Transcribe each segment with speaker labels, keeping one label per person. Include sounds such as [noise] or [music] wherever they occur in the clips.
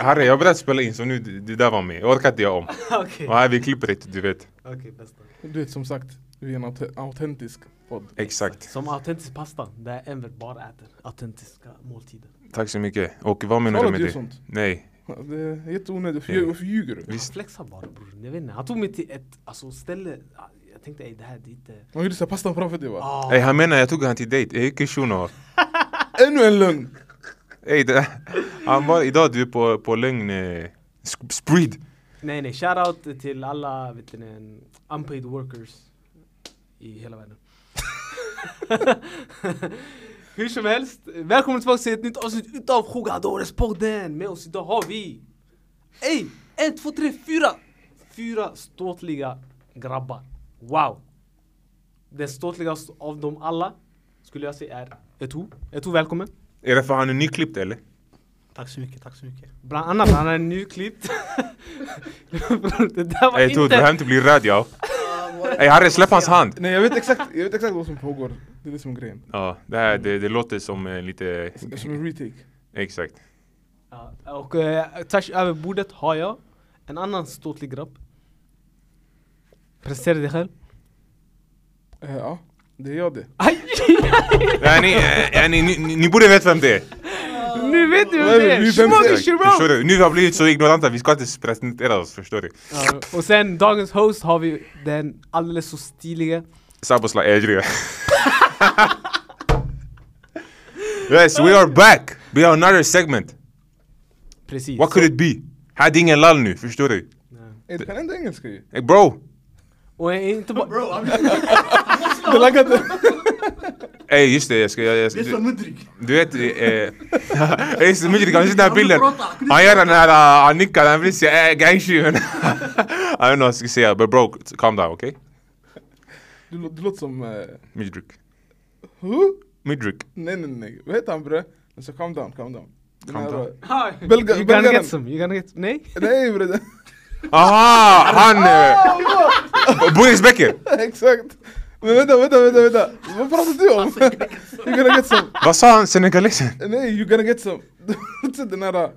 Speaker 1: Harry, jag har börjat spela in så nu, det där var med. Jag orkar inte göra om.
Speaker 2: [laughs] Okej,
Speaker 1: Och här, vi klipper inte, du vet.
Speaker 2: okej bästa.
Speaker 3: Du vet som sagt, vi är en aut- autentisk podd.
Speaker 1: Exakt.
Speaker 2: Som autentisk pasta, där Enver bara äter autentiska måltider.
Speaker 1: Tack så mycket. Och vad menar du
Speaker 3: Talar
Speaker 1: med
Speaker 3: du
Speaker 1: det?
Speaker 3: sånt?
Speaker 1: Nej.
Speaker 3: Det är jätteonödigt, varför lju- varför ljuger du?
Speaker 1: Visst.
Speaker 2: Han flexar bara bror, jag vet inte. Han tog mig till ett alltså, ställe, jag tänkte ey det här det är inte...
Speaker 3: Man gjorde såhär pastan framför dig va?
Speaker 2: Ah,
Speaker 1: Ey, han menar jag tog han till dejt. Ey, vilken shuno.
Speaker 3: Ännu en lögn!
Speaker 1: Ey, det- [laughs] han var idag du är på, på lögn... eh, sk- Spreed.
Speaker 2: Nej nej, shoutout till alla vet ni, unpaid workers i hela världen. [laughs] Hur som helst, välkommen tillbaka till ett nytt avsnitt utav Jugadores-podden! Med oss idag har vi... Ey! En, två, tre, fyra! Fyra ståtliga grabbar. Wow! Den ståtligaste av dem alla skulle jag säga är Eto. Eto, välkommen!
Speaker 1: Är det för han är nyklippt eller?
Speaker 4: Tack så mycket, tack så mycket.
Speaker 2: Bland annat, han är nyklippt. [laughs] det där var
Speaker 1: Ey, Tord,
Speaker 2: inte...
Speaker 1: du behöver inte bli
Speaker 2: [laughs]
Speaker 1: rädd ja. Ey, Harry, släpp hans hand.
Speaker 3: Nej jag vet exakt, jag vet exakt vad som pågår. Det är det som är grejen.
Speaker 1: Ja, det här det, det låter som eh, lite...
Speaker 3: Det är Som en retake.
Speaker 1: Exakt.
Speaker 2: Ja, och eh, tvärs över bordet har jag en annan ståtlig grabb. Presentera dig själv.
Speaker 3: Eh, ja, det är jag det. Eh,
Speaker 2: Aj!
Speaker 1: Ja, ni, eh, ja, ni, ni, ni borde veta vem det är.
Speaker 2: [laughs] nu vet du vem
Speaker 3: Nej,
Speaker 2: det
Speaker 3: vi
Speaker 2: är!
Speaker 3: vet
Speaker 2: Shimon
Speaker 3: inte.
Speaker 2: is
Speaker 1: Förstår
Speaker 2: Shimon!
Speaker 1: du? Nu har vi blivit så ignoranta, vi ska inte presentera oss, förstår du?
Speaker 2: Ja, och sen dagens host har vi den alldeles så stilige.
Speaker 1: Sabosla [laughs] Ejri. yes, we are back! We have another segment.
Speaker 2: Precis.
Speaker 1: What could it be? Hade ingen lall nu, förstår du?
Speaker 3: Eh, Du kan ändå engelska ju.
Speaker 1: Hey, bro!
Speaker 2: Och eh, inte bara...
Speaker 3: Det laggade.
Speaker 1: Ey just det, jag ska... Jag, jag,
Speaker 4: Det är
Speaker 1: du,
Speaker 4: som Mudrik.
Speaker 1: du vet... Eh, [laughs] just det, Mujrik, han sitter i den här bilden. Han gör den här... Uh, han nickar, han vill säga eh, gangshi men... [laughs] I don't know vad jag ska säga, uh, but bro, calm down, okay?
Speaker 3: Du, lå- du låter som... Eh,
Speaker 1: Mujrik.
Speaker 3: who?
Speaker 1: Mujrik.
Speaker 3: Nej nej nej, vad heter han bre? Alltså calm down, calm down. Den
Speaker 1: Calm
Speaker 3: här,
Speaker 1: down.
Speaker 3: eh, Belga-
Speaker 2: You're gonna
Speaker 3: belgaren.
Speaker 2: get some, you're gonna get... Nej? [laughs]
Speaker 3: Nej bre, [laughs] det-
Speaker 1: Aha! Han... Eh, Boris Becker!
Speaker 3: exakt. Men vänta, vänta, vänta, vänta. Vad pratar du om? You're Alltså, gonna get [laughs] some.
Speaker 1: Vad sa han [laughs] senegalesen?
Speaker 3: Nej, you're gonna get some. [laughs] Du den här... eh,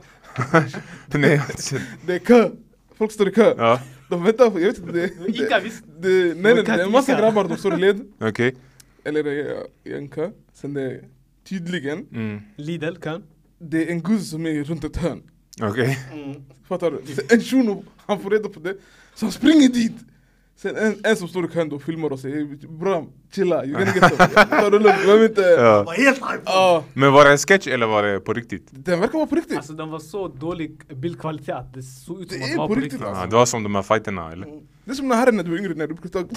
Speaker 1: Nej, jag har inte sett.
Speaker 3: Det är kö. Folk står i kö.
Speaker 1: Ja,
Speaker 3: De väntar, på- jag vet inte. Det,
Speaker 2: Ica
Speaker 3: det,
Speaker 2: visst.
Speaker 3: det, nej, nej,
Speaker 2: kan
Speaker 3: det är en
Speaker 2: inte
Speaker 3: massa
Speaker 2: Ica.
Speaker 3: grabbar, de står i led.
Speaker 1: okej.
Speaker 3: Eller i, i en kö. Sen det är tydligen,
Speaker 1: Mm.
Speaker 2: Lidl kan.
Speaker 3: det är en guzz som är runt ett hörn.
Speaker 1: Okej.
Speaker 3: Fattar du? Sen en shuno, han får reda på det. Så han springer dit. Sen en, en som står i kön då filmar och säger Bram, chilla, you're gonna get some. Ta det lugnt, glöm
Speaker 1: [laughs]
Speaker 3: inte.
Speaker 1: Ja.
Speaker 4: Var helt hype.
Speaker 3: Ja,
Speaker 1: Men var det en sketch eller var det på riktigt?
Speaker 3: den verkar vara på riktigt.
Speaker 2: Alltså den var så dålig bildkvalitet att det såg ut som
Speaker 3: Det
Speaker 2: att
Speaker 3: är
Speaker 2: det var
Speaker 3: på
Speaker 2: på
Speaker 3: riktigt, alltså.
Speaker 2: riktigt.
Speaker 1: Ah, det var som de här fighterna eller?
Speaker 3: Det är som när herren när du var yngre, när du brukade ta...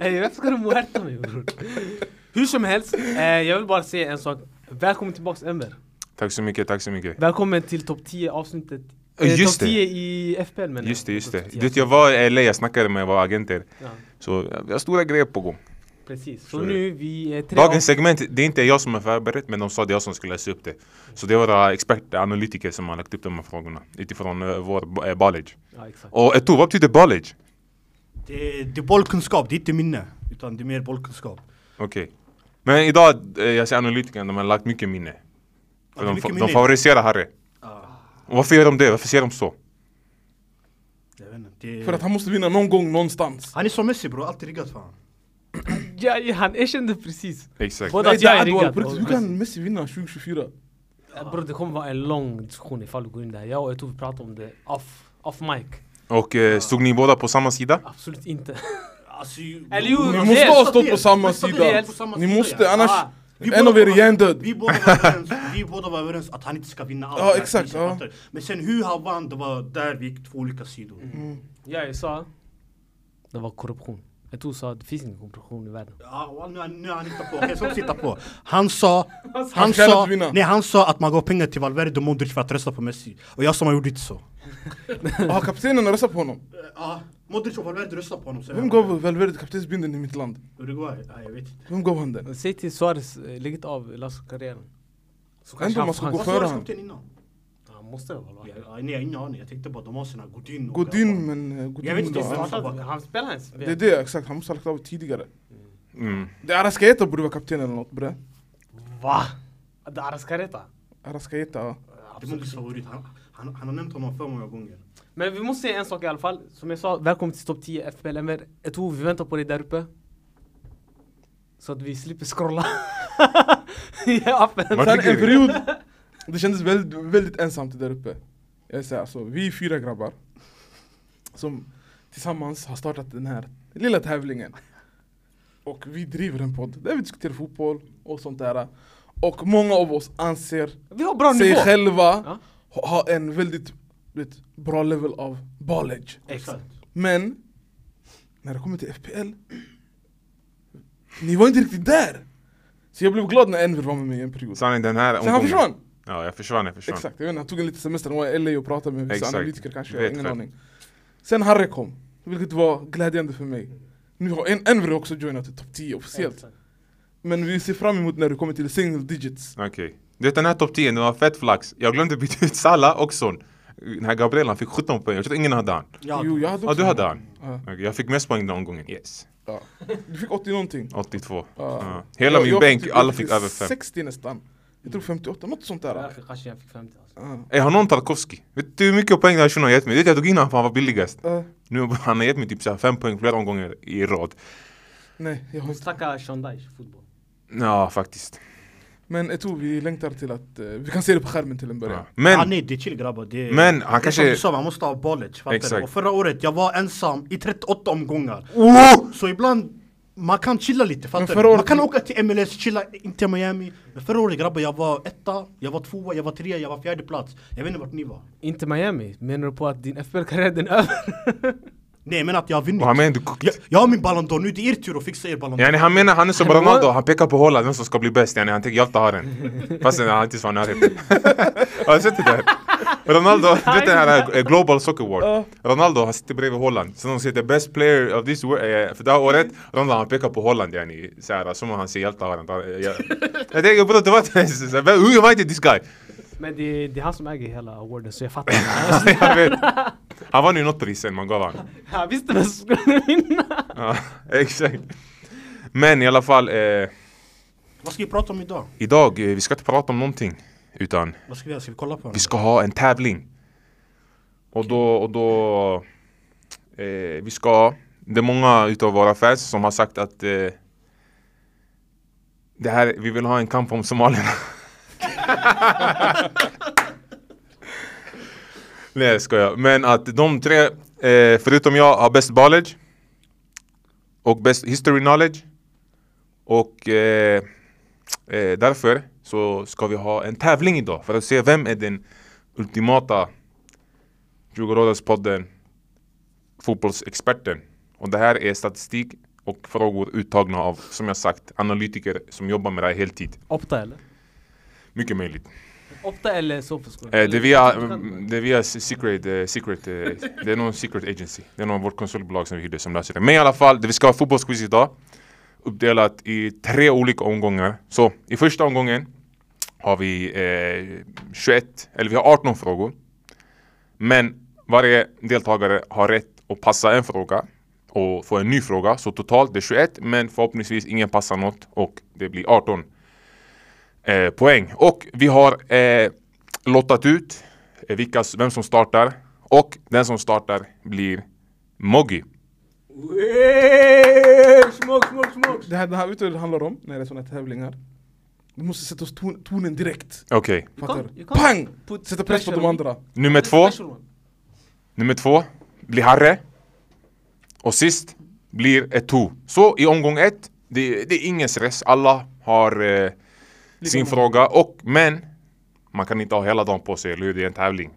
Speaker 2: Ey, varför ska du muerta mig bror?
Speaker 3: [laughs]
Speaker 2: Hur som helst, eh, jag vill bara säga en sak. Välkommen tillbaks Enver.
Speaker 1: Tack så mycket, tack så mycket.
Speaker 2: Välkommen till topp 10 avsnittet. Eh,
Speaker 1: Ja, just
Speaker 2: topp
Speaker 1: det.
Speaker 2: 10 i FPL menar jag.
Speaker 1: Just det, just det.
Speaker 2: Topp
Speaker 1: Du
Speaker 2: 10.
Speaker 1: vet jag var i LA, jag snackade med våra agenter.
Speaker 2: Ja,
Speaker 1: Så eh, vi har stora grejer på gång.
Speaker 2: precis. Så
Speaker 1: Sorry.
Speaker 2: nu vi är tre
Speaker 1: Dagens
Speaker 2: av-
Speaker 1: segment, det är inte jag som har förberett men de sa det är jag som skulle läsa upp det. Så det är våra experter, analytiker som har lagt upp de här frågorna utifrån eh, vår eh, knowledge.
Speaker 2: Ja, exakt.
Speaker 1: Och Eto, vad betyder knowledge?
Speaker 4: Det, det är bollkunskap, det är inte minne. Utan det är mer bollkunskap.
Speaker 1: Okej. Men idag, eh, jag ser analytikerna, de har lagt mycket minne.
Speaker 4: Ja,
Speaker 1: För
Speaker 4: det är
Speaker 1: de,
Speaker 4: mycket
Speaker 1: fa- de
Speaker 4: minne.
Speaker 1: favoriserar Harry. Och Varför gör de det? Varför ser de så?
Speaker 4: Jag vet inte. Det,
Speaker 3: För att han måste vinna någon gång någonstans.
Speaker 4: han är som Messi bror, alltid riggat för honom.
Speaker 2: Ja, ja, han erkände precis.
Speaker 1: Exakt.
Speaker 2: Både
Speaker 3: Nej,
Speaker 2: att
Speaker 3: det är
Speaker 2: jag är
Speaker 3: Adwal,
Speaker 2: riggad.
Speaker 3: på riktigt. Hur
Speaker 2: och-
Speaker 3: kan Messi vinna 2024?
Speaker 2: Eh, Bror det kommer vara en lång diskussion ifall vi går in där. Jag och Eto'o vi pratar om det off, off mic.
Speaker 1: Och eh, stod ni båda på samma sida?
Speaker 2: Absolut inte.
Speaker 4: Alltså,
Speaker 2: Eller jo,
Speaker 3: Ni
Speaker 2: det-
Speaker 3: måste ha stått på
Speaker 4: det-
Speaker 3: samma
Speaker 4: det-
Speaker 3: sida.
Speaker 2: det-
Speaker 3: Ni måste, annars...
Speaker 2: Ah,
Speaker 4: Vi
Speaker 3: En
Speaker 4: båda
Speaker 3: av er
Speaker 4: var-
Speaker 3: är hjärndöd.
Speaker 4: Vi båda var överens, vi båda var överens att han inte ska vinna allt.
Speaker 3: Ja,
Speaker 4: det här
Speaker 3: exakt,
Speaker 4: priset,
Speaker 3: ja.
Speaker 4: fattar du? Men sen hur han vann, det var där vi gick två olika sidor.
Speaker 2: [laughs] ja, jag sa det var korruption. Eto'o sa det finns ingen korruption i världen.
Speaker 4: Ja, och nu, nu har han hittat på, okej så sitta på. Han sa,
Speaker 3: Han
Speaker 4: han
Speaker 3: kan
Speaker 4: sa,
Speaker 3: inte vinna.
Speaker 4: nej han sa att man gav pengar till Valverde och Modric för att rösta på Messi. Och jag som har gjort inte så.
Speaker 3: [coughs] Ja, kaptenen har röstat på honom.
Speaker 4: Ja, Modric och Valverde röstade på honom. säger
Speaker 3: Vem
Speaker 4: han.
Speaker 3: gav Valverde kaptensbindeln i mitt land?
Speaker 4: Uruguay? Ja, jag vet inte.
Speaker 3: Vem gav han den?
Speaker 2: Säg till Suarez, eh, lägg inte av Lasso-karriären. Så
Speaker 3: Ändå
Speaker 2: han får
Speaker 3: man ska
Speaker 2: chans.
Speaker 3: gå
Speaker 4: Vad
Speaker 3: före
Speaker 4: sa du
Speaker 3: han.
Speaker 4: kapten innan?
Speaker 2: Han måste väl vara
Speaker 4: Ja, ja, nej, jag har ingen aning. Jag tänkte bara de har sina Godin och...
Speaker 3: Godin, men... eh, Godin
Speaker 4: Jag vet inte,
Speaker 3: då,
Speaker 4: det är
Speaker 3: han-
Speaker 4: startat.
Speaker 2: Startade- Han spelar ens.
Speaker 3: Det är det, exakt. Han måste ha lagt av tidigare.
Speaker 1: Mm.
Speaker 3: Det är Arascaeta borde vara kapten eller något bre.
Speaker 2: Va? Det är Arascareta?
Speaker 3: Arascaeta, ja.
Speaker 4: Det är Mugis favorit. Han, han, han har nämnt honom för många gånger.
Speaker 2: Men vi måste säga en sak i alla fall. Som jag sa, välkommen till topp 10 FPLMR. Jag tror vi väntar på dig där uppe. Så att vi slipper scrolla. [laughs] I appen.
Speaker 1: Vad
Speaker 3: Sen
Speaker 1: tycker
Speaker 3: en
Speaker 1: du?
Speaker 3: period, det kändes väldigt, väldigt ensamt där uppe. Jag säger alltså, vi är fyra grabbar som tillsammans har startat den här lilla tävlingen. Och vi driver en podd där vi diskuterar fotboll och sånt där. Och många av oss anser
Speaker 2: Vi har bra
Speaker 3: sig
Speaker 2: nivå.
Speaker 3: själva
Speaker 2: Ja.
Speaker 3: ha- ha en väldigt du vet, bra level av knowledge.
Speaker 2: Exakt.
Speaker 3: Men när det kommer till FPL Ni var inte riktigt där! Så jag blev glad när Enver var med mig i en period Sen
Speaker 1: Sanning den här
Speaker 3: han försvann!
Speaker 1: Ja, jag försvann, jag försvann.
Speaker 3: Exakt, jag vet inte, han tog en liten semester, han var i LA och pratade med vissa
Speaker 1: Exakt.
Speaker 3: analytiker kanske, jag
Speaker 1: Vet
Speaker 3: har ingen
Speaker 1: själv.
Speaker 3: aning Sen Harry kom, vilket var glädjande för mig Nu har en, Enver också joinat i topp 10 officiellt
Speaker 2: Exakt.
Speaker 3: Men vi ser fram emot när det kommer till single digits
Speaker 1: Okej. Du vet den här topp 10, det var fett flax. Jag glömde byta ut Salah och Son. Den här Gabriel, han fick 17 poäng. Jag tror ingen hade han.
Speaker 4: Ja,
Speaker 3: Jo, jag hade
Speaker 1: Ja,
Speaker 3: också
Speaker 1: du hade han.
Speaker 3: Ja.
Speaker 1: Okej, Jag fick mest poäng den omgången. Yes.
Speaker 3: ja. Du fick 80 någonting
Speaker 1: 82.
Speaker 3: Ja.
Speaker 1: Ja. Hela
Speaker 3: Ah. Jag-
Speaker 1: min
Speaker 3: jag
Speaker 1: bänk,
Speaker 3: jag
Speaker 1: alla fick över 5.
Speaker 3: 60 nästan Jag tror 58, något sånt där
Speaker 2: Kanske- Kanske jag fick 50 alltså.
Speaker 3: Ja.
Speaker 1: Ey, har någon Tarkovsky? Vet du hur mycket poäng den här shunon har gett mig? Du vet, jag tog in honom för han var billigast.
Speaker 3: Ja.
Speaker 1: Nu har han har gett mig typ 5 poäng flera omgångar i rad.
Speaker 3: Nej, jag har inte.
Speaker 2: Snacka Shandaish fotboll.
Speaker 1: Ja, faktiskt.
Speaker 3: Men jag tror vi längtar till att eh, vi kan se det på skärmen till en början.
Speaker 1: Ja.
Speaker 4: Men, ah,
Speaker 1: Men,
Speaker 4: nej, det är chill grabbar. Det är,
Speaker 1: Men han
Speaker 4: det är
Speaker 1: kanske-
Speaker 4: som du sa, man måste ha knowledge. fattar du?
Speaker 1: Exakt.
Speaker 4: Och förra året, jag var ensam i 38 omgångar.
Speaker 3: Oh,
Speaker 1: Wow!
Speaker 4: Så ibland, man kan chilla lite fattar
Speaker 3: förra
Speaker 4: du? Man
Speaker 3: året-
Speaker 4: kan åka till MLS, chilla, inte i Miami. Men förra året grabbar, jag var etta, jag var tvåa, jag var trea, jag var fjärde plats. Jag vet inte vart ni var.
Speaker 2: Inte Miami. Menar du på att din FPL-karriär den är över?
Speaker 4: Nej men att jag har vunnit.
Speaker 1: vad menar
Speaker 4: Jag,
Speaker 1: du?
Speaker 4: jag har min Ballon d'Or, nu är det er tur att fixa er Ballon d'Or.
Speaker 1: Yani han menar han är som
Speaker 2: Han var-
Speaker 1: Ronaldo, han pekar på Holland, den som ska bli bäst yani han tänker jag tar den Fast han inte ens var i närheten [laughs] Har du sett det där? Ronaldo, du vet den här eh, Global Soccer Award Ronaldo han sitter bredvid Holland, så de säger the best player of this world eh, För det här året, Ronaldo han pekar på Holland yani såhär som om han ser hjälte har den Eh, jag- Jag tänker bror det var inte ens, så här, who invited this guy?
Speaker 2: [laughs]
Speaker 1: [laughs]
Speaker 2: Men det, det är han som äger hela awarden så jag fattar. [laughs]
Speaker 1: Jag vet. Han vann ju något pris sen man gav han
Speaker 2: jag visste vem som skulle vinna.
Speaker 1: Ja, [laughs] Exakt Men i alla fall, eh,
Speaker 4: Vad ska vi prata om idag?
Speaker 1: idag, eh, vi ska inte prata om någonting utan
Speaker 4: Vad ska vi göra? Ska vi kolla på den?
Speaker 1: Vi ska ha en tävling. Och då, och då eh, vi ska, det är många utav våra fans som har sagt att eh, det här, vi vill ha en kamp om somalierna. [laughs] Nej jag skojar. Men att de tre, eh, förutom jag, har bäst knowledge och bäst history knowledge. Och eh, Eh, därför så ska vi ha en tävling idag för att se vem är den ultimata Djurgårdaspodden fotbollsexperten. Och det här är statistik och frågor uttagna av, som jag sagt, analytiker som jobbar med det här heltid.
Speaker 2: Opta eller?
Speaker 1: Mycket möjligt.
Speaker 2: Opta eller Sofaskog?
Speaker 1: Eh, det är via, mm, det är via s- secret, eh, secret eh, det är någon secret agency. Det är någon av vårt konsultbolag som vi hyrde som löser det. Men i alla fall, det- vi ska ha fotbollsquiz idag. Uppdelat i tre olika omgångar. Så i första omgången har vi eh, 21, eller vi har 18 frågor. Men varje deltagare har rätt att passa en fråga och få en ny fråga. Så totalt det är 21, men förhoppningsvis ingen passar något och det blir 18 eh, poäng. Och vi har eh, lottat ut eh, vilka, s- vem som startar och den som startar blir Moggy.
Speaker 2: Smok, smok, smok!
Speaker 3: Det här, det här vet du vad det handlar om när det är såna här tävlingar? Du måste sätta oss ton, tonen direkt.
Speaker 1: Okej,
Speaker 3: Fattar
Speaker 2: kan-
Speaker 3: du?
Speaker 2: you can
Speaker 3: Pang!
Speaker 2: put
Speaker 3: Sätta press på
Speaker 2: pressure
Speaker 3: de
Speaker 2: on-
Speaker 3: andra.
Speaker 1: nummer två. Nummer två blir Harre. Och sist blir Eto. Så i omgång ett, det, det är ingen stress. Alla har eh, sin fråga. Och, men man kan inte ha hela dagen på sig, eller hur? Det är en tävling.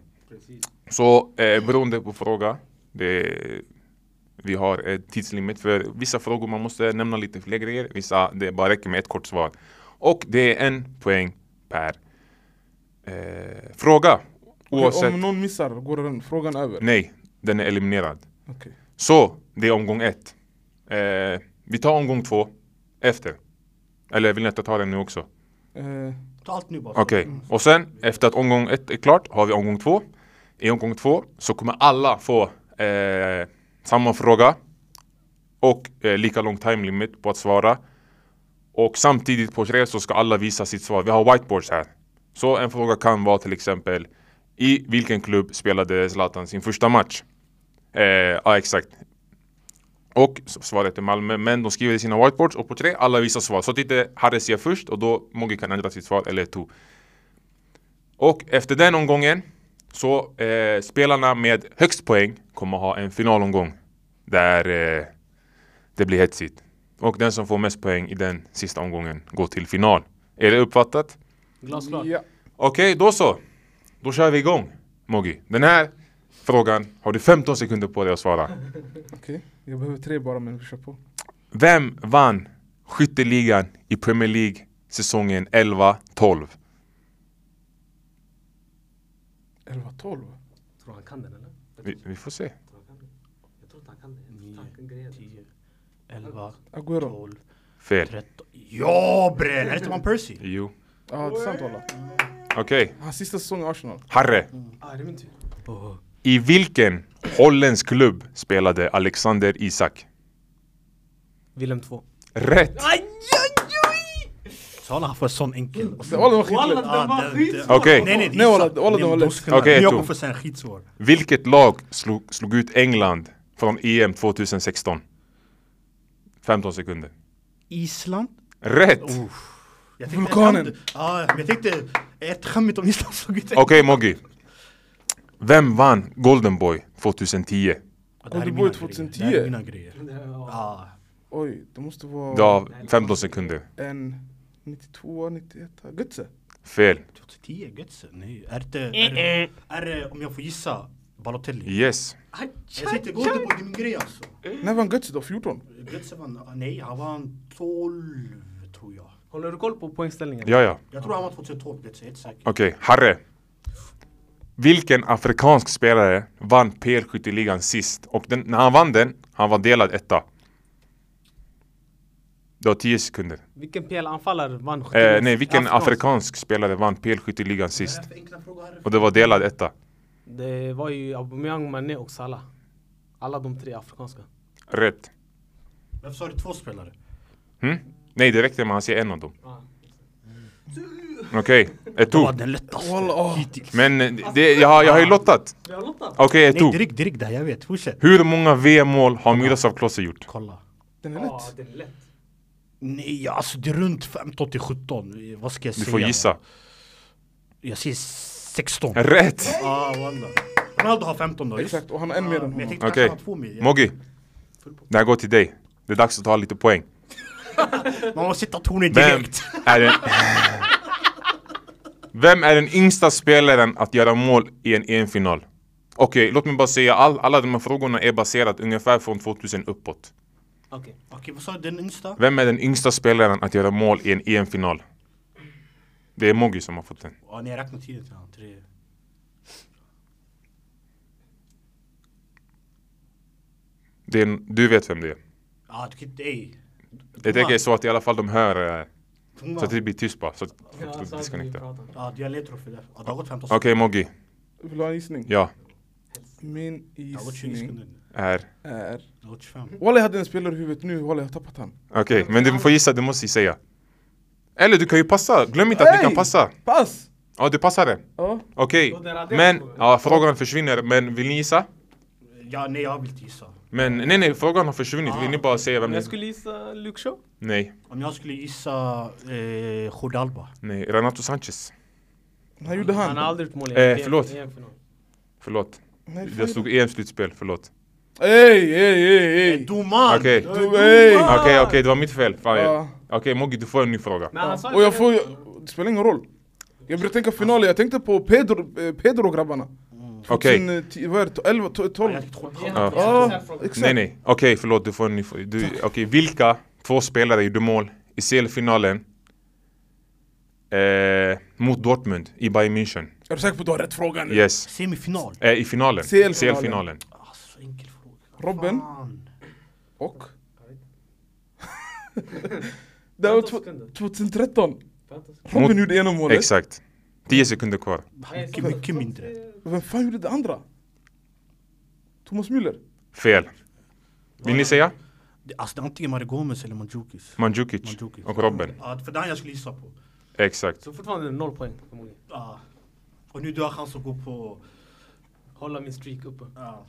Speaker 1: Så eh, beroende på fråga, det, vi har ett tidslimit för vissa frågor man måste nämna lite fler grejer. Vissa, det bara räcker med ett kort svar. Och det är en poäng per eh, fråga. Oavsett. Mm.
Speaker 3: Om någon missar går den frågan över.
Speaker 1: Nej, den är eliminerad.
Speaker 3: Okej.
Speaker 1: Så, det är omgång ett. Eh, vi tar omgång två efter. Eller vill ni att jag tar den nu också?
Speaker 3: Eh,
Speaker 4: Ta allt nu bara.
Speaker 1: Okej, och sen efter att omgång ett är klart har vi omgång två. I omgång två så kommer alla få eh, samma fråga och eh, lika lång time limit på att svara. Och samtidigt på tre så ska alla visa sitt svar. Vi har whiteboards här. Så en fråga kan vara till exempel I vilken klubb spelade Zlatan sin första match? Eh, ja, exakt. Och s- svaret är Malmö, men de skriver i sina whiteboards och på tre, alla visar svar. Så titta, Harry ser först och då Mogge kan ändra sitt svar eller to. Och efter den omgången så eh, spelarna med högst poäng kommer ha en finalomgång där eh, det blir hetsigt. Och den som får mest poäng i den sista omgången går till final. Är det uppfattat?
Speaker 2: Glasklart.
Speaker 3: Ja.
Speaker 1: Okej, då så. Då kör vi igång, Moggi. Den här frågan har du 15 sekunder på dig att svara.
Speaker 3: Okej, jag behöver tre bara men vi kör på.
Speaker 1: Vem vann skytteligan i Premier League säsongen 11-12?
Speaker 3: 11, 12?
Speaker 2: Tror du han kan den eller? Jag
Speaker 1: Vi, vi får se.
Speaker 2: tror han kan den. Jag tror inte han kan den.
Speaker 1: Mm.
Speaker 2: Jag tror inte han kan grejen.
Speaker 4: 10, 11,
Speaker 3: Aguero.
Speaker 4: 12,
Speaker 1: Fel.
Speaker 4: 13. Ja bre! Är det inte man Percy?
Speaker 1: Jo.
Speaker 3: Ja, det är sant alla.
Speaker 1: Okej,
Speaker 3: Hans sista säsong i Arsenal.
Speaker 1: Harry.
Speaker 2: Ah, det är min tur.
Speaker 1: I vilken holländsk klubb spelade Alexander Isak?
Speaker 2: Willem 2.
Speaker 1: Rätt!
Speaker 4: Sala har fått sån enkel. Och sen-
Speaker 3: Walla, vad skit-
Speaker 2: Walla, den
Speaker 4: Ah,
Speaker 2: var
Speaker 4: den-
Speaker 2: skitsvår!
Speaker 1: Okej,
Speaker 4: Nej nej, det
Speaker 3: Nej,
Speaker 4: är
Speaker 3: walla,
Speaker 4: sant.
Speaker 3: walla, den var lätt.
Speaker 4: Doskuna.
Speaker 1: Okej,
Speaker 4: Jag
Speaker 1: to.
Speaker 4: kommer få säga en skitsvår.
Speaker 1: vilket lag slog, slog ut England från E EM 2016? 15 sekunder.
Speaker 4: Island?
Speaker 1: Rätt!
Speaker 4: Jag tänkte ett
Speaker 3: Vulkanen.
Speaker 4: skämt- Ja, men jag tänkte ett skämt om Island såg ut.
Speaker 1: Okej Moggi. Vem vann Golden Boy 2010?
Speaker 4: Ja,
Speaker 3: Och det
Speaker 4: mina
Speaker 3: var ju
Speaker 4: grejer.
Speaker 3: 2010.
Speaker 4: Det här är mina grejer.
Speaker 2: Ja.
Speaker 4: Ah,
Speaker 3: Oj, det måste vara
Speaker 1: Du har 15 sekunder.
Speaker 3: en 92, 91. Götze.
Speaker 1: Fel.
Speaker 4: 2010, Götze? Nej, är det... Är det, är det om jag får gissa, Balotelli?
Speaker 1: Yes.
Speaker 4: Jag sitter gott på min grej alltså.
Speaker 3: När vann Götze då? 14?
Speaker 4: Götze vann, nej han vann 12 tror jag.
Speaker 2: Håller du koll på poängställningen?
Speaker 1: Ja, ja.
Speaker 4: Jag tror han vann 2012 Götze, helt säkert.
Speaker 1: Okej, Harry. Vilken afrikansk spelare vann PL-skytteligan sist? Och den, när han vann den, han var delad etta. Du har 10 sekunder.
Speaker 2: Vilken PL-anfallare vann
Speaker 1: Eh,
Speaker 2: 70?
Speaker 1: nej, vilken
Speaker 2: Afrikansk.
Speaker 1: afrikansk spelare vann PL-skytteligan sist?
Speaker 4: Vad är det för enkla frågor här?
Speaker 1: Och det var delad etta.
Speaker 2: Det var ju Aubameyang, Mané och Salah. Alla de tre afrikanska.
Speaker 1: Rätt.
Speaker 4: Varför sa du två spelare?
Speaker 1: Hm? Nej, det räckte med att säga en av dem. Okej, ett
Speaker 4: Ah. Det
Speaker 1: to.
Speaker 4: var den lättaste
Speaker 3: Walla, åh.
Speaker 4: hittills.
Speaker 1: Men eh, det, jag, har- jag har ju lottat.
Speaker 2: Vi har lottat.
Speaker 1: Okej, ett
Speaker 4: Nej
Speaker 1: to.
Speaker 4: direkt, direkt där, jag vet. Fortsätt.
Speaker 1: Hur många VM-mål har Miroslav Klose gjort?
Speaker 4: Kolla.
Speaker 3: Den är
Speaker 2: Ja,
Speaker 3: lätt.
Speaker 2: det är lätt.
Speaker 4: Nej alltså det är runt 15 till 17. Vad ska jag
Speaker 1: Du
Speaker 4: säga?
Speaker 1: får gissa.
Speaker 4: Jag säger 16.
Speaker 1: Rätt!
Speaker 4: Ah walla. Ronaldo har 15 då. just.
Speaker 3: Exakt, och han har en mer
Speaker 4: Ah,
Speaker 3: än
Speaker 4: Men jag
Speaker 3: honom.
Speaker 4: tänkte
Speaker 1: Okej.
Speaker 4: kanske han har två mer.
Speaker 1: Moggi, det här går till dig. Det är dags att ta lite poäng.
Speaker 4: Man måste sätta tonen
Speaker 1: Vem
Speaker 4: direkt.
Speaker 1: är den, [laughs] Vem är den yngsta spelaren att göra mål i en EM-final? Okej, låt mig bara säga all, alla de här frågorna är baserat ungefär från 2000 uppåt.
Speaker 2: Okej.
Speaker 4: Okej vad sa du, den yngsta?
Speaker 1: Vem är den yngsta spelaren att göra mål i en EM-final? Det är Moggi som har fått den.
Speaker 4: Ja, ni har räknat tiden till honom. Tre.
Speaker 1: Det är, en- du vet vem det är.
Speaker 4: Ja, du kan inte... Ey.
Speaker 1: Jag tänker så att i alla fall de hör, eh, så att det
Speaker 4: Tunga.
Speaker 1: blir tyst bara. Så att
Speaker 2: Ja,
Speaker 1: folk
Speaker 2: så
Speaker 1: inte
Speaker 2: hade vi
Speaker 1: disconnectar.
Speaker 2: pratat.
Speaker 4: Ja, dialekter och för det. Ja, det har gått 15
Speaker 1: Okej Moggi,
Speaker 3: Vill du ha en gissning?
Speaker 1: ja.
Speaker 3: Min
Speaker 4: Det har gått 20
Speaker 3: gissning
Speaker 4: sekunder nu.
Speaker 1: Är.
Speaker 3: är...
Speaker 4: Det har gått 25.
Speaker 3: Walla jag hade en spelare i huvudet nu, walla jag har tappat han.
Speaker 1: Okej, men du får gissa, du måste ju säga. Eller du kan ju passa, glöm inte att du kan
Speaker 3: Hey!
Speaker 1: passa.
Speaker 3: Pass!
Speaker 1: Ja, du passade.
Speaker 3: Ja.
Speaker 1: Okej,
Speaker 2: Och den raderar
Speaker 1: men
Speaker 2: frågan.
Speaker 1: ja, frågan försvinner. Men vill ni gissa?
Speaker 4: Ja, nej, jag vill inte gissa.
Speaker 1: Men nej, nej, frågan har försvunnit. Vill ni bara säga vem
Speaker 2: Men
Speaker 1: det
Speaker 2: jag
Speaker 1: är?
Speaker 2: skulle gissa Luke Shaw.
Speaker 1: Nej,
Speaker 4: Om jag skulle gissa eh, Jordi Alba.
Speaker 1: nej, Renato Sanchez.
Speaker 3: Han gjorde
Speaker 2: Han har
Speaker 3: han.
Speaker 2: aldrig gjort mål i
Speaker 1: Eh,
Speaker 2: en
Speaker 1: förlåt.
Speaker 2: EM-final.
Speaker 1: Förlåt,
Speaker 3: Nej,
Speaker 1: jag stod EM-slutspel, förlåt.
Speaker 3: Ey, ey, ey, ey!
Speaker 4: Eh, Domaren!
Speaker 1: Okej.
Speaker 4: Du-
Speaker 3: Du, ey!
Speaker 1: Okej, okej, det var mitt fel. Fan, jag-
Speaker 3: Ja.
Speaker 1: Okej, Moggi, du får en ny fråga.
Speaker 2: Men han sa ju
Speaker 3: Och jag
Speaker 2: det.
Speaker 3: får... Det spelar ingen roll. Jag började tänka finaler, jag tänkte på Pedro, eh, Pedro grabbarna.
Speaker 1: Okej,
Speaker 3: 2010, vad är det? 11,
Speaker 4: Ja,
Speaker 3: 12?
Speaker 4: jag tyckte Jordi Alba.
Speaker 2: Ja,
Speaker 3: Ja,
Speaker 2: jag får-
Speaker 3: exakt.
Speaker 1: nej, nej. Okej, förlåt, du får en ny fråga. Du- Okej, vilka två spelare gjorde mål i CL-finalen eh, mot Dortmund i Bayern München?
Speaker 3: Är du säker på att du har rätt fråga nu?
Speaker 1: Yes.
Speaker 4: Semifinal.
Speaker 1: Eh, I finalen.
Speaker 3: CL-finalen.
Speaker 1: CL-finalen.
Speaker 4: Ah, så enkel fråga.
Speaker 3: Robben?
Speaker 4: Fan.
Speaker 3: Och? [laughs] Det var
Speaker 2: Femton
Speaker 3: tw-
Speaker 2: sekunder.
Speaker 3: 2013.
Speaker 2: Femton sekunder.
Speaker 1: Mot-
Speaker 3: Robin gjorde ena målet.
Speaker 1: Exakt. 10 sekunder kvar.
Speaker 4: Mycket,
Speaker 2: Alltså,
Speaker 4: mycket mindre.
Speaker 3: Vem fan gjorde det andra? Thomas Müller?
Speaker 1: Fel. Vill
Speaker 2: Ah.
Speaker 1: ni säga?
Speaker 4: Det- Alltså, det är antingen Mario Gomez eller Mandzukic.
Speaker 1: Mandzukic,
Speaker 4: Mandzukic.
Speaker 1: och Robben.
Speaker 4: Ja, för den jag skulle gissa på.
Speaker 1: Exakt.
Speaker 2: Så fortfarande noll poäng. förmodligen.
Speaker 4: Ja. Och nu du har chans att gå på...
Speaker 2: Hålla min streak uppe.
Speaker 4: Ja.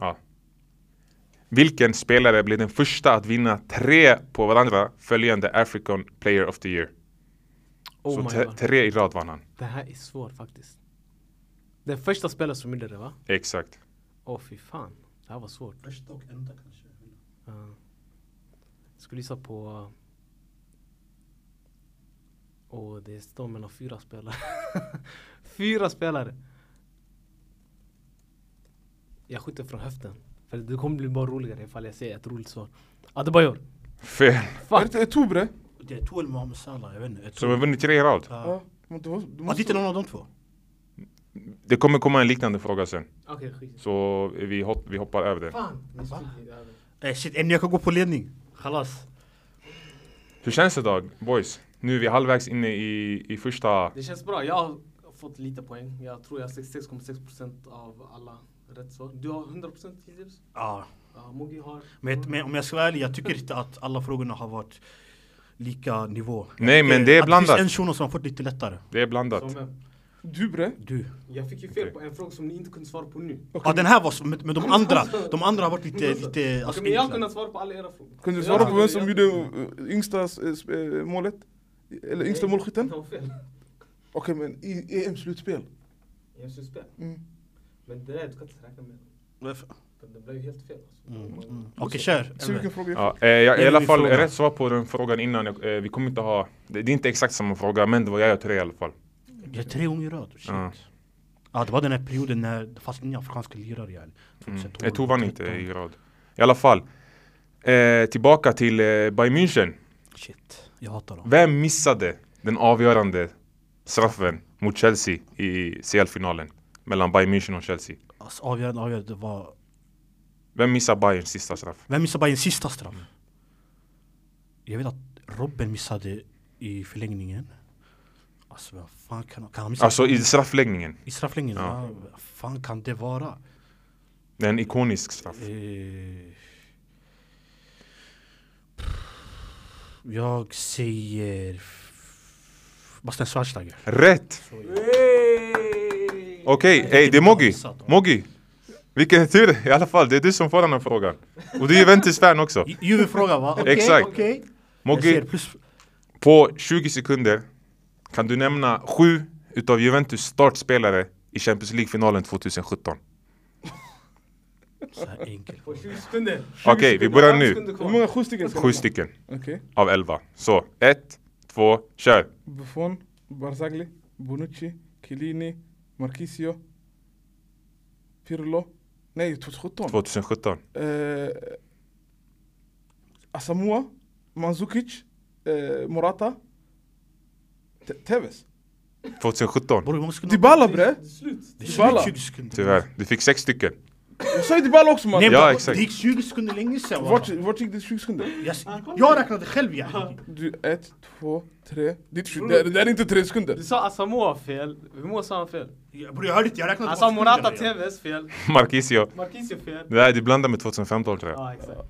Speaker 1: Ja. Vilken spelare blev den första att vinna tre på varandra följande African Player of the Year?
Speaker 2: Oh
Speaker 1: så
Speaker 2: my
Speaker 1: te-
Speaker 2: god.
Speaker 1: tre i rad vann han.
Speaker 2: Det här är svårt faktiskt. Den första spelaren som gjorde det va?
Speaker 1: Exakt.
Speaker 2: Åh fy fan. Det här var svårt.
Speaker 4: Första och enda kanske.
Speaker 2: Ja. Jag Eh, skulle gissa på... Åh, det står mellan fyra spelare. [laughs] fyra spelare! Jag skjuter från höften. För det kommer bli bara roligare ifall jag säger ett roligt svar. Adebayor!
Speaker 1: Fel.
Speaker 3: Är det
Speaker 2: Fuck!
Speaker 3: inte Tobre?
Speaker 4: Det är Toel Mohamed Salah, jag vet inte. Jag
Speaker 1: Som har
Speaker 4: tror...
Speaker 1: vunnit tre i rad.
Speaker 4: Ja.
Speaker 3: Ja. men du måste- du
Speaker 4: Ja, det är
Speaker 3: måste-
Speaker 4: inte någon av de två.
Speaker 1: Det kommer komma en liknande fråga sen.
Speaker 2: Okej, skit.
Speaker 1: Så vi, hop- vi hoppar över det.
Speaker 2: Fan! det
Speaker 4: Va?
Speaker 2: skulle bli över.
Speaker 4: Eh, shit, en jag kan gå på ledning. Chalas.
Speaker 1: Hur känns det då, boys? Nu är vi halvvägs inne i, i första...
Speaker 2: Det känns bra. Jag har fått lite poäng. Jag tror jag har 66,6% av alla rätt svar. Du har 100% hittills.
Speaker 4: Ja.
Speaker 2: Ja, Mogi har...
Speaker 4: Men, men om jag ska vara ärlig, jag tycker inte att alla frågorna har varit lika nivå.
Speaker 1: Nej, men det är
Speaker 4: Att Det
Speaker 1: blandat.
Speaker 4: finns en shuno som har fått lite lättare.
Speaker 1: Det är blandat.
Speaker 2: Som vem?
Speaker 3: Dubre?
Speaker 4: Du.
Speaker 2: Jag fick ju fel
Speaker 1: Okej.
Speaker 2: på en fråga som ni inte kunde svara på nu.
Speaker 4: Ja den här var som, men men de andra, de andra har varit lite, lite
Speaker 2: Okej,
Speaker 4: alltså,
Speaker 2: men jag har
Speaker 4: enklare.
Speaker 2: kunnat svara på alla era frågor.
Speaker 3: Kunde
Speaker 2: Jag
Speaker 3: du svara på
Speaker 2: hade-
Speaker 3: vem
Speaker 2: jag-
Speaker 3: som gjorde eh, yngsta eh, sp- eh, målet? Eller yngsta
Speaker 4: Eh,
Speaker 2: Nej,
Speaker 3: målskytten?
Speaker 2: Det var fel.
Speaker 3: Okej men i E Mm. EM-slutspel?
Speaker 2: Jag syns fel.
Speaker 3: Mm.
Speaker 2: Men det där du kan inte räkna med. För det blev ju helt fel. Alltså.
Speaker 4: Mm. Okej kör.
Speaker 3: Se vilken fråga jag
Speaker 1: Ja, eh, jag, I alla
Speaker 4: min
Speaker 1: fall,
Speaker 4: fråga.
Speaker 1: rätt svar på den frågan innan. Jag, eh, vi kommer inte ha... Det, det är inte exakt samma fråga, men det var jag och tre i alla fall.
Speaker 4: Det är tre gånger i rad. Shit.
Speaker 1: Ja.
Speaker 4: Ja det var den här perioden när det fanns inga afrikanska lirare yani.
Speaker 1: Mm.
Speaker 4: 2012,
Speaker 1: Jag tog vann inte
Speaker 4: 13.
Speaker 1: i rad. I alla fall. Eh, tillbaka till eh, Bayern München.
Speaker 4: Shit, jag hatar dem.
Speaker 1: Vem missade den avgörande straffen mot Chelsea i CL-finalen? Mellan Bayern München och Chelsea.
Speaker 4: Alltså, avgörande, avgörande det var...
Speaker 1: Vem missar Bayerns sista straff?
Speaker 4: Vem missade bara en sista straff? Jag vet att Robben missade i förlängningen. Alltså vad fan kan, kan han missa?
Speaker 1: Alltså i straffläggningen.
Speaker 4: I strafflängden?
Speaker 1: Ja.
Speaker 4: Ja. Vad fan kan det vara?
Speaker 1: Det är en ikonisk straff.
Speaker 4: Eh, jag säger... f- Bastian Schweinsteiger.
Speaker 1: Rätt!
Speaker 2: Hey!
Speaker 1: Okej, ey, det är Moggi. Moggi! Vilken tur! I alla fall, det är du som får den här frågan. Och du är Juventus-fan också.
Speaker 4: Ju- Juve-fråga va? Okej,
Speaker 1: Exakt.
Speaker 4: okej. Jag
Speaker 1: Moggi,
Speaker 4: säger plus...
Speaker 1: på 20 sekunder kan du nämna sju utav Juventus startspelare i Champions League-finalen 2017.
Speaker 4: Så här enkel.
Speaker 2: På 20 sekunder.
Speaker 1: Okej, vi börjar
Speaker 2: Fem
Speaker 1: nu.
Speaker 2: sekunder
Speaker 3: fick.
Speaker 2: kvar.
Speaker 3: Hur många? Sju stycken? ska det
Speaker 1: Sju
Speaker 3: vara?
Speaker 1: stycken
Speaker 3: Okej.
Speaker 1: av elva. Så, ett, två, kör!
Speaker 3: Buffon, Barzagli, Bonucci, Chiellini, Marquisio, Pirlo. Nej, 2017.
Speaker 1: 2017.
Speaker 3: Eh, Asamoah, Mandzukic, eh, Morata, Te- Tevez.
Speaker 1: 2017.
Speaker 4: Bror hur många sekunder?
Speaker 3: Dybala bre!
Speaker 2: Det är Slut.
Speaker 4: Det
Speaker 3: Dybala.
Speaker 4: gick 20 sekunder.
Speaker 1: Tyvärr, du fick sex stycken. [laughs]
Speaker 3: Jag sa ju Dybala också
Speaker 4: Nej,
Speaker 3: mannen!
Speaker 1: Ja,
Speaker 4: men
Speaker 1: exakt.
Speaker 4: Det gick 20 sekunder länge sedan. va?
Speaker 3: Vart, vart gick det 20 sekunder?
Speaker 4: Jag, jag räknade själv yani.
Speaker 3: Du, ett, två, tre. Det är, inte 20, det, är, det är inte tre sekunder.
Speaker 2: Du sa Asamoah fel. Hur många sa han fel?
Speaker 4: Jag- Bror jag hörde inte, jag räknade
Speaker 2: Han
Speaker 4: bara
Speaker 2: sa Morata
Speaker 4: sekunderna, yani.
Speaker 2: Tevez fel.
Speaker 1: Marquisio.
Speaker 2: Marquisio fel.
Speaker 1: Nej, du blandar med 2015 tror jag.
Speaker 2: Ja, exakt.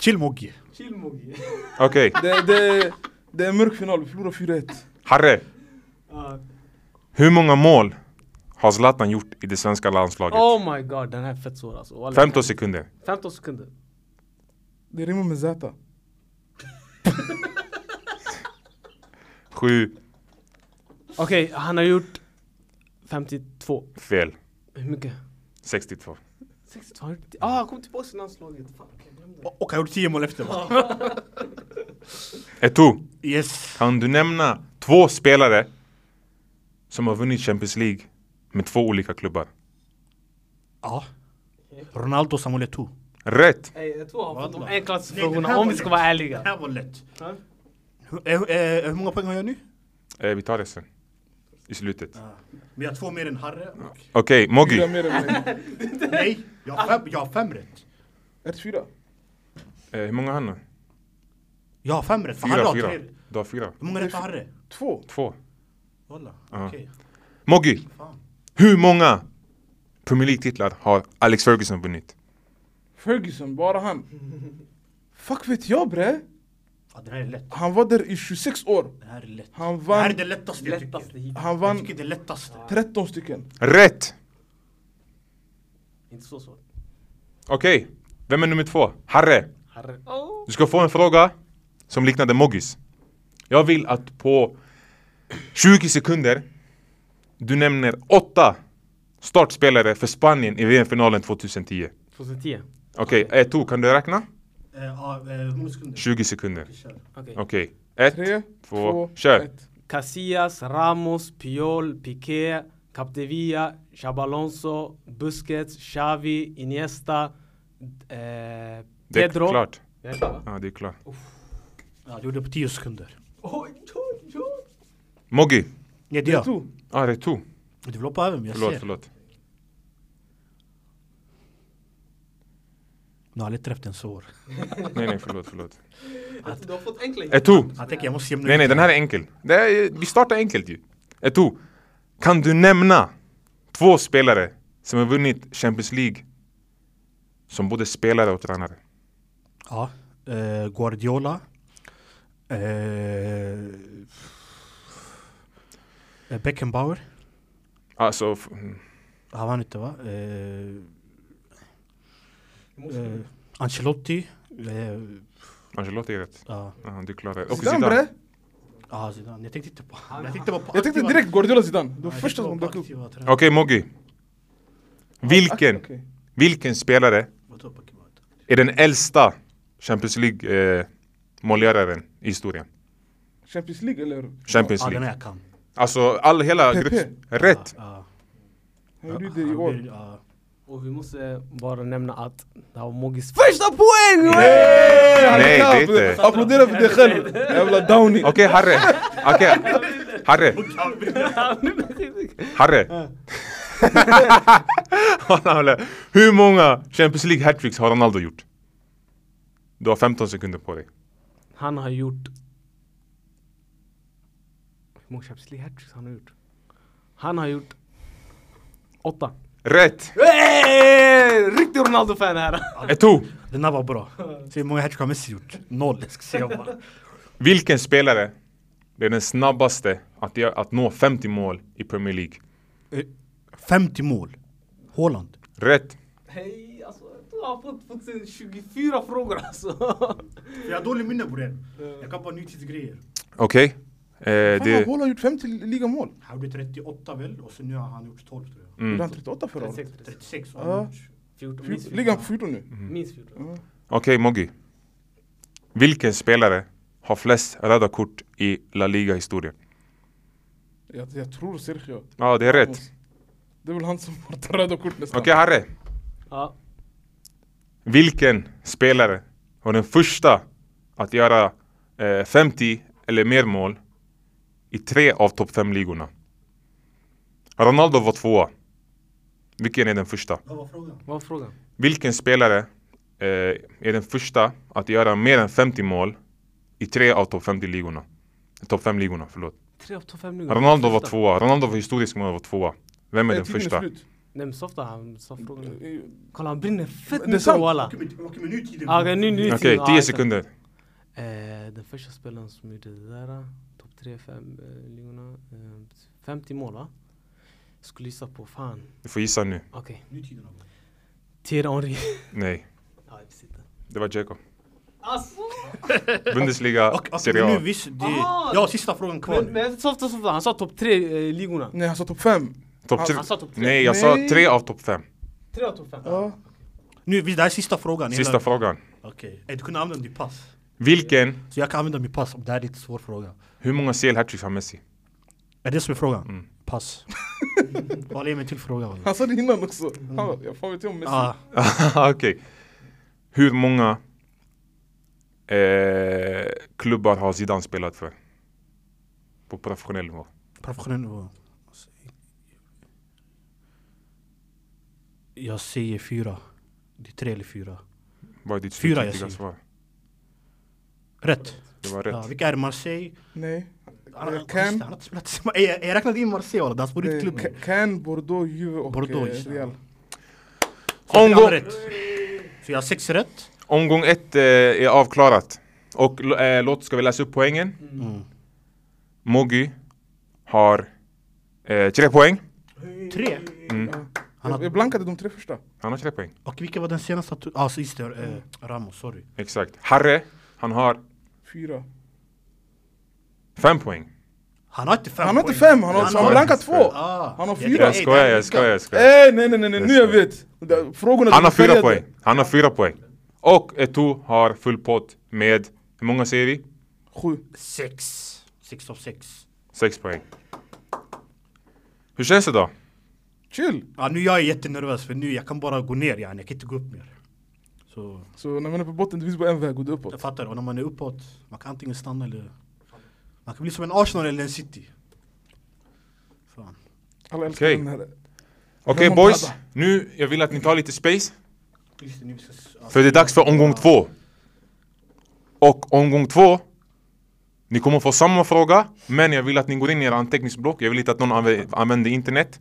Speaker 4: Chill Moggi.
Speaker 2: Ah, Chill Ah, Mogi.
Speaker 1: Okej,
Speaker 3: Det, det, det är en mörk final, vi förlorar 4-1.
Speaker 1: Harre.
Speaker 2: Ja.
Speaker 1: Hur många mål har Zlatan gjort i det svenska landslaget?
Speaker 2: Oh my god, den här är fett svår alltså. Wallah.
Speaker 1: 15 sekunder.
Speaker 2: 15 sekunder.
Speaker 3: Det rimmar med Zäta.
Speaker 1: 7.
Speaker 2: Okej, han har gjort 52.
Speaker 1: Fel.
Speaker 2: Hur mycket?
Speaker 1: 62.
Speaker 2: 62? Ah, han kom tillbaka till landslaget. Fuck, jag glömde.
Speaker 4: Och och han gjorde 10 mål efter va?
Speaker 1: Eto,
Speaker 4: Yes.
Speaker 1: kan du nämna två spelare som har vunnit Champions League med två olika klubbar?
Speaker 4: Ja. Ronaldo Samuel Eto'o.
Speaker 1: Rätt!
Speaker 2: Ey, jag tror han fått de
Speaker 4: Wallah.
Speaker 2: enklaste
Speaker 4: Nej, den här
Speaker 2: frågorna om
Speaker 4: var
Speaker 2: vi ska
Speaker 4: lätt.
Speaker 2: vara
Speaker 4: Det
Speaker 2: ärliga.
Speaker 4: här var lätt.
Speaker 2: Ja.
Speaker 4: Hur, eh, eh, hur många poäng har jag nu?
Speaker 1: Eh, vi tar det sen. I slutet.
Speaker 4: Men jag har två mer än Harre. och-
Speaker 1: Okej,
Speaker 3: Fyra
Speaker 1: Moggi.
Speaker 3: mer än mig.
Speaker 4: Nej, jag har fem, jag har fem rätt.
Speaker 3: Är det fyra?
Speaker 1: Eh, hur många har han nu?
Speaker 4: Jag har fem rätt. för Harre
Speaker 1: Fyra,
Speaker 4: har
Speaker 1: fyra.
Speaker 4: tre. rätt.
Speaker 1: Du har fyra.
Speaker 4: Hur många rätt har Harre?
Speaker 3: Två?
Speaker 1: Två.
Speaker 4: Walla,
Speaker 1: Ja.
Speaker 4: okej.
Speaker 1: Moggi,
Speaker 4: Fan.
Speaker 1: hur många Premier League-titlar har Alex Ferguson vunnit?
Speaker 3: Ferguson, bara han. Fuck vet jag bre!
Speaker 4: Fan, den här är lätt.
Speaker 3: Han var där i 26 år.
Speaker 4: Den här är lätt.
Speaker 3: Han
Speaker 4: Det här är
Speaker 3: vann
Speaker 4: det lättaste jag
Speaker 2: Lättaste
Speaker 4: tycker.
Speaker 2: hit.
Speaker 3: Han
Speaker 4: Jag
Speaker 3: vann
Speaker 4: tycker det är lättaste.
Speaker 3: 13 stycken.
Speaker 1: Rätt!
Speaker 2: Inte så svårt.
Speaker 1: Okej, vem är nummer två? Harre!
Speaker 2: Herre. Oh.
Speaker 1: Du ska få en fråga som liknade Moggis. Jag vill att på 20 sekunder du nämner åtta startspelare för Spanien i VM-finalen 2010.
Speaker 2: 2010.
Speaker 1: Okej, ett, två, kan du räkna?
Speaker 4: Eh, Ja, eh, hur många sekunder?
Speaker 1: 20 sekunder.
Speaker 4: Kör.
Speaker 2: Okej.
Speaker 1: Okej, ett,
Speaker 3: Tre,
Speaker 1: två,
Speaker 3: två,
Speaker 1: kör!
Speaker 3: ett.
Speaker 2: Casillas, Ramos, Piol, Piqué, Capdevia, Chabalonso, Busquets, Xavi, Iniesta, eh,
Speaker 1: Det är
Speaker 2: Pedro.
Speaker 1: klart.
Speaker 2: Jag är klar, va?
Speaker 1: Ja, det är klart.
Speaker 4: Ja, du gjorde det på 10 sekunder.
Speaker 2: Oj, oj, oj.
Speaker 1: Moggi!
Speaker 4: Ja, det är jag.
Speaker 3: To.
Speaker 1: Ja, ah, det är två.
Speaker 4: Du vill hoppa över mig, jag
Speaker 1: Förlåt,
Speaker 4: ser.
Speaker 1: förlåt.
Speaker 4: Nu har jag aldrig träffat en svår.
Speaker 1: Nej, nej, förlåt, förlåt.
Speaker 2: Du har fått enkla
Speaker 1: Ett, två!
Speaker 4: Han tänker jag måste jämna
Speaker 1: Nej, nej, den här är enkel. Det är, vi startar enkelt ju. Eto, kan du nämna två spelare som har vunnit Champions League som både spelare och tränare?
Speaker 4: Ja, eh, Guardiola. Eh, eh, Beckenbauer.
Speaker 1: Alltså, f- mm,
Speaker 4: Han vann inte va? Eh, eh, Ancelotti. Eh,
Speaker 1: Ancelotti är rätt.
Speaker 4: ja,
Speaker 1: Ja, du klarar det. Och
Speaker 3: Zidane bre!
Speaker 4: ah, Zidane. Jag tänkte inte på Jag tänkte bara på
Speaker 3: Jag tänkte
Speaker 4: aktiva-
Speaker 3: direkt Guardiola Zidane. Det
Speaker 4: Ja,
Speaker 3: var
Speaker 4: jag tänkte
Speaker 3: första
Speaker 4: bara
Speaker 3: som
Speaker 4: på
Speaker 3: dök upp.
Speaker 4: aktiva tränare.
Speaker 1: Okej, Moggi. Vilken,
Speaker 3: Ah, Okej.
Speaker 1: vilken spelare
Speaker 4: Vadå Beckenbauer?
Speaker 1: är den äldsta Champions League-målgöraren i historien?
Speaker 3: Champions League eller?
Speaker 1: Champions
Speaker 4: Ja, den
Speaker 1: League.
Speaker 4: här jag kan.
Speaker 1: Alltså, all, hela
Speaker 3: Pepe.
Speaker 1: gruppen. Rätt!
Speaker 4: Ja,
Speaker 3: Han
Speaker 4: ja.
Speaker 3: gjorde ju det i år.
Speaker 4: Ja.
Speaker 2: Och vi måste bara nämna att det här var Moggis [laughs] första poäng!
Speaker 1: Nej, det är inte.
Speaker 3: Applådera för dig själv! Jävla downy!
Speaker 1: Okej, Harry. Okej, Harry. Harry! [laughs] Han håller- Hur många Champions League hattricks har Ronaldo gjort? Du har 15 sekunder på dig.
Speaker 2: Han har gjort... Hur många Champions League hattricks han har gjort? Han har gjort... Åtta.
Speaker 1: Rätt!
Speaker 2: Hey! Riktig Ronaldo-fan här!
Speaker 1: Eto!
Speaker 4: Den här var bra. Se hur många hattrick har Messi gjort? Noll. Jag ska säga bara.
Speaker 1: Vilken spelare är den snabbaste att, gö- att nå 50 mål i Premier League?
Speaker 4: Eh, 50 mål. Haaland.
Speaker 1: Rätt!
Speaker 2: [laughs] Hej, alltså du har fått, fått sen 24 frågor alltså!
Speaker 4: Jag har dålig minne bror.
Speaker 2: Eh.
Speaker 4: Jag kan bara nutidsgrejer.
Speaker 1: Okej. Eh,
Speaker 3: Fan,
Speaker 1: det...
Speaker 3: Haaland har gjort 50 ligamål.
Speaker 4: Han gjorde 38 väl och sen nu har han gjort 12 tror jag.
Speaker 3: Gjorde
Speaker 1: Mm.
Speaker 3: han 38 förra året?
Speaker 4: 36 har
Speaker 3: Ja.
Speaker 4: han gjort.
Speaker 2: 14, minst
Speaker 3: Fjort-
Speaker 2: 14.
Speaker 3: Ligger han på 14 nu?
Speaker 1: Mm.
Speaker 2: Minst 14.
Speaker 1: Okej, Moggi. Vilken spelare har flest röda kort i La Liga-historien?
Speaker 3: Jag, jag tror Sergio.
Speaker 1: Ja, det är rätt.
Speaker 3: Det är väl han som har det röda kort nästan.
Speaker 1: Okej, Harry.
Speaker 2: Ja.
Speaker 1: Vilken spelare var den första att göra eh, 50 eller mer mål i tre av topp fem ligorna? Ronaldo var tvåa. Vilken är den första?
Speaker 4: Vad var frågan?
Speaker 2: Vad var frågan?
Speaker 1: Vilken spelare eh, är den första att göra mer än 50 mål i tre av topp 50 ligorna? Topp fem ligorna, förlåt.
Speaker 2: 3 av topp 5 nu.
Speaker 1: Ronaldo var tvåa. Ronaldo var historisk mål var tvåa. Vem är
Speaker 3: Eh,
Speaker 1: den
Speaker 3: tiden
Speaker 1: första?
Speaker 3: slut.
Speaker 2: Nej men softa han sa frågan.
Speaker 3: Eh,
Speaker 2: Kolla han brinner fett
Speaker 3: Det är sant.
Speaker 2: mycket walla.
Speaker 4: Okej men nu tiden.
Speaker 2: Ja, Ah, Okej, nu, nu är
Speaker 1: Okej,
Speaker 2: tiden. Ja,
Speaker 3: Ah,
Speaker 1: 10
Speaker 2: exakt.
Speaker 1: sekunder.
Speaker 2: Eh, den första spelaren som gjorde det där, eh, topp 3-5 eh, ligorna. Eh, 50 mål va? Skulle gissa på, fan.
Speaker 1: Du får gissa nu.
Speaker 2: Okej.
Speaker 4: Nu tiden har gått.
Speaker 2: Thierry Henry. [laughs]
Speaker 1: Nej,
Speaker 2: ja, jag visste inte.
Speaker 1: det var
Speaker 3: [laughs]
Speaker 1: Dzeko.
Speaker 2: Alltså!
Speaker 1: Bundesliga,
Speaker 4: Okej okej,
Speaker 1: Serie A.
Speaker 4: nu visst. Det,
Speaker 2: Ah!
Speaker 4: jag har sista frågan kvar.
Speaker 2: Men, men softa, softa. Han sa topp 3 eh, ligorna.
Speaker 3: Nej han sa topp 5.
Speaker 1: Topp tre.
Speaker 2: Han sa topp 3.
Speaker 1: Nej, jag sa
Speaker 3: Nej.
Speaker 1: tre av topp fem.
Speaker 2: 3 av topp 5.
Speaker 3: Ja.
Speaker 4: Nu visst, det här är sista frågan.
Speaker 1: Sista
Speaker 4: Hela-
Speaker 1: frågan.
Speaker 4: Okej. Eh, Du kunde använda ditt pass.
Speaker 1: Vilken,
Speaker 4: Så jag kan använda mitt pass om det här är en svår fråga.
Speaker 1: hur många CL hattricks har Messi? [laughs]
Speaker 4: Är det som är frågan?
Speaker 1: Mm.
Speaker 2: [laughs]
Speaker 4: Pass. Vad är min till fråga? walla.
Speaker 3: Han sa det innan också.
Speaker 4: Mm.
Speaker 3: Han bara, jag fan vet jag om Messi.
Speaker 4: Ah,
Speaker 1: Okej. Hur många eh, klubbar har Zidane spelat för? På professionell nivå.
Speaker 4: professionell nivå. Jag säger fyra. Det är tre eller fyra.
Speaker 1: Vad är ditt
Speaker 4: Fyra, jag
Speaker 1: slutgiltiga
Speaker 4: säger.
Speaker 1: svar?
Speaker 4: Rätt.
Speaker 1: Det var
Speaker 4: Ja,
Speaker 1: rätt.
Speaker 4: vilka är det? Marseille?
Speaker 3: Nej.
Speaker 4: Han
Speaker 3: Eh,
Speaker 4: har-
Speaker 3: Cannes.
Speaker 4: han har inte spelat i- Eh, Jag jag räknade in Marseille walla, det är hans
Speaker 3: Eh,
Speaker 4: favoritklubb.
Speaker 3: Ca- Cannes, Bordeaux, Juve och
Speaker 4: Bordeaux,
Speaker 3: eh,
Speaker 4: just det.
Speaker 3: Real.
Speaker 4: Så jag fick alla
Speaker 1: Omgång,
Speaker 4: rätt. Så jag har sex rätt.
Speaker 1: omgång ett eh, är avklarat. Och l- eh, låt, ska vi läsa upp poängen?
Speaker 4: Mm.
Speaker 1: Moggy har eh, tre poäng.
Speaker 4: Tre? Han
Speaker 3: Jag,
Speaker 4: har-
Speaker 3: jag blankade de tre första.
Speaker 1: Han har tre poäng.
Speaker 4: Och vilken var den senaste? att du- Ja, ah, just det. Eh, Ramos, sorry.
Speaker 1: Exakt. Harre, han har
Speaker 3: Fyra.
Speaker 1: fem poäng.
Speaker 4: Han har inte fem
Speaker 3: Han har inte
Speaker 4: poäng.
Speaker 3: fem, han har, han har blankat två!
Speaker 4: Ah.
Speaker 3: Han har
Speaker 4: Jag
Speaker 3: fyra!
Speaker 1: Jag
Speaker 4: tror-
Speaker 1: skojar, jag skojar, jag skojar.
Speaker 3: Eh, nej nej nej, nej, nu jag vet! Det- Frågorna
Speaker 1: Han har
Speaker 3: du färgade.
Speaker 1: fyra poäng. Han har fyra poäng. Och Eto'o har full pott med, hur många säger vi?
Speaker 3: Sju.
Speaker 4: Sex. Sex av sex.
Speaker 1: Sex poäng. Hur känns det då?
Speaker 3: Chill!
Speaker 4: Ja, nu jag är jättenervös för nu jag kan bara gå ner yani, jag kan inte gå upp mer. Så,
Speaker 3: Så när man är på botten, det finns bara en väg, och det är uppåt.
Speaker 4: jag fattar, och när man är uppåt, man kan antingen stanna eller... Man kan bli som en Arsenal eller en City. Fan.
Speaker 3: Alla älskar
Speaker 1: Okej.
Speaker 3: den här.
Speaker 1: Okej
Speaker 3: Ramon
Speaker 1: boys,
Speaker 3: Prada.
Speaker 1: nu jag vill att ni tar lite space.
Speaker 4: Just det, nu ska s- ja.
Speaker 1: För det är dags för omgång två. Och omgång två, ni kommer få samma fråga, men jag vill att ni går in i era anteckningsblock. Jag vill inte att någon anvä- använder internet.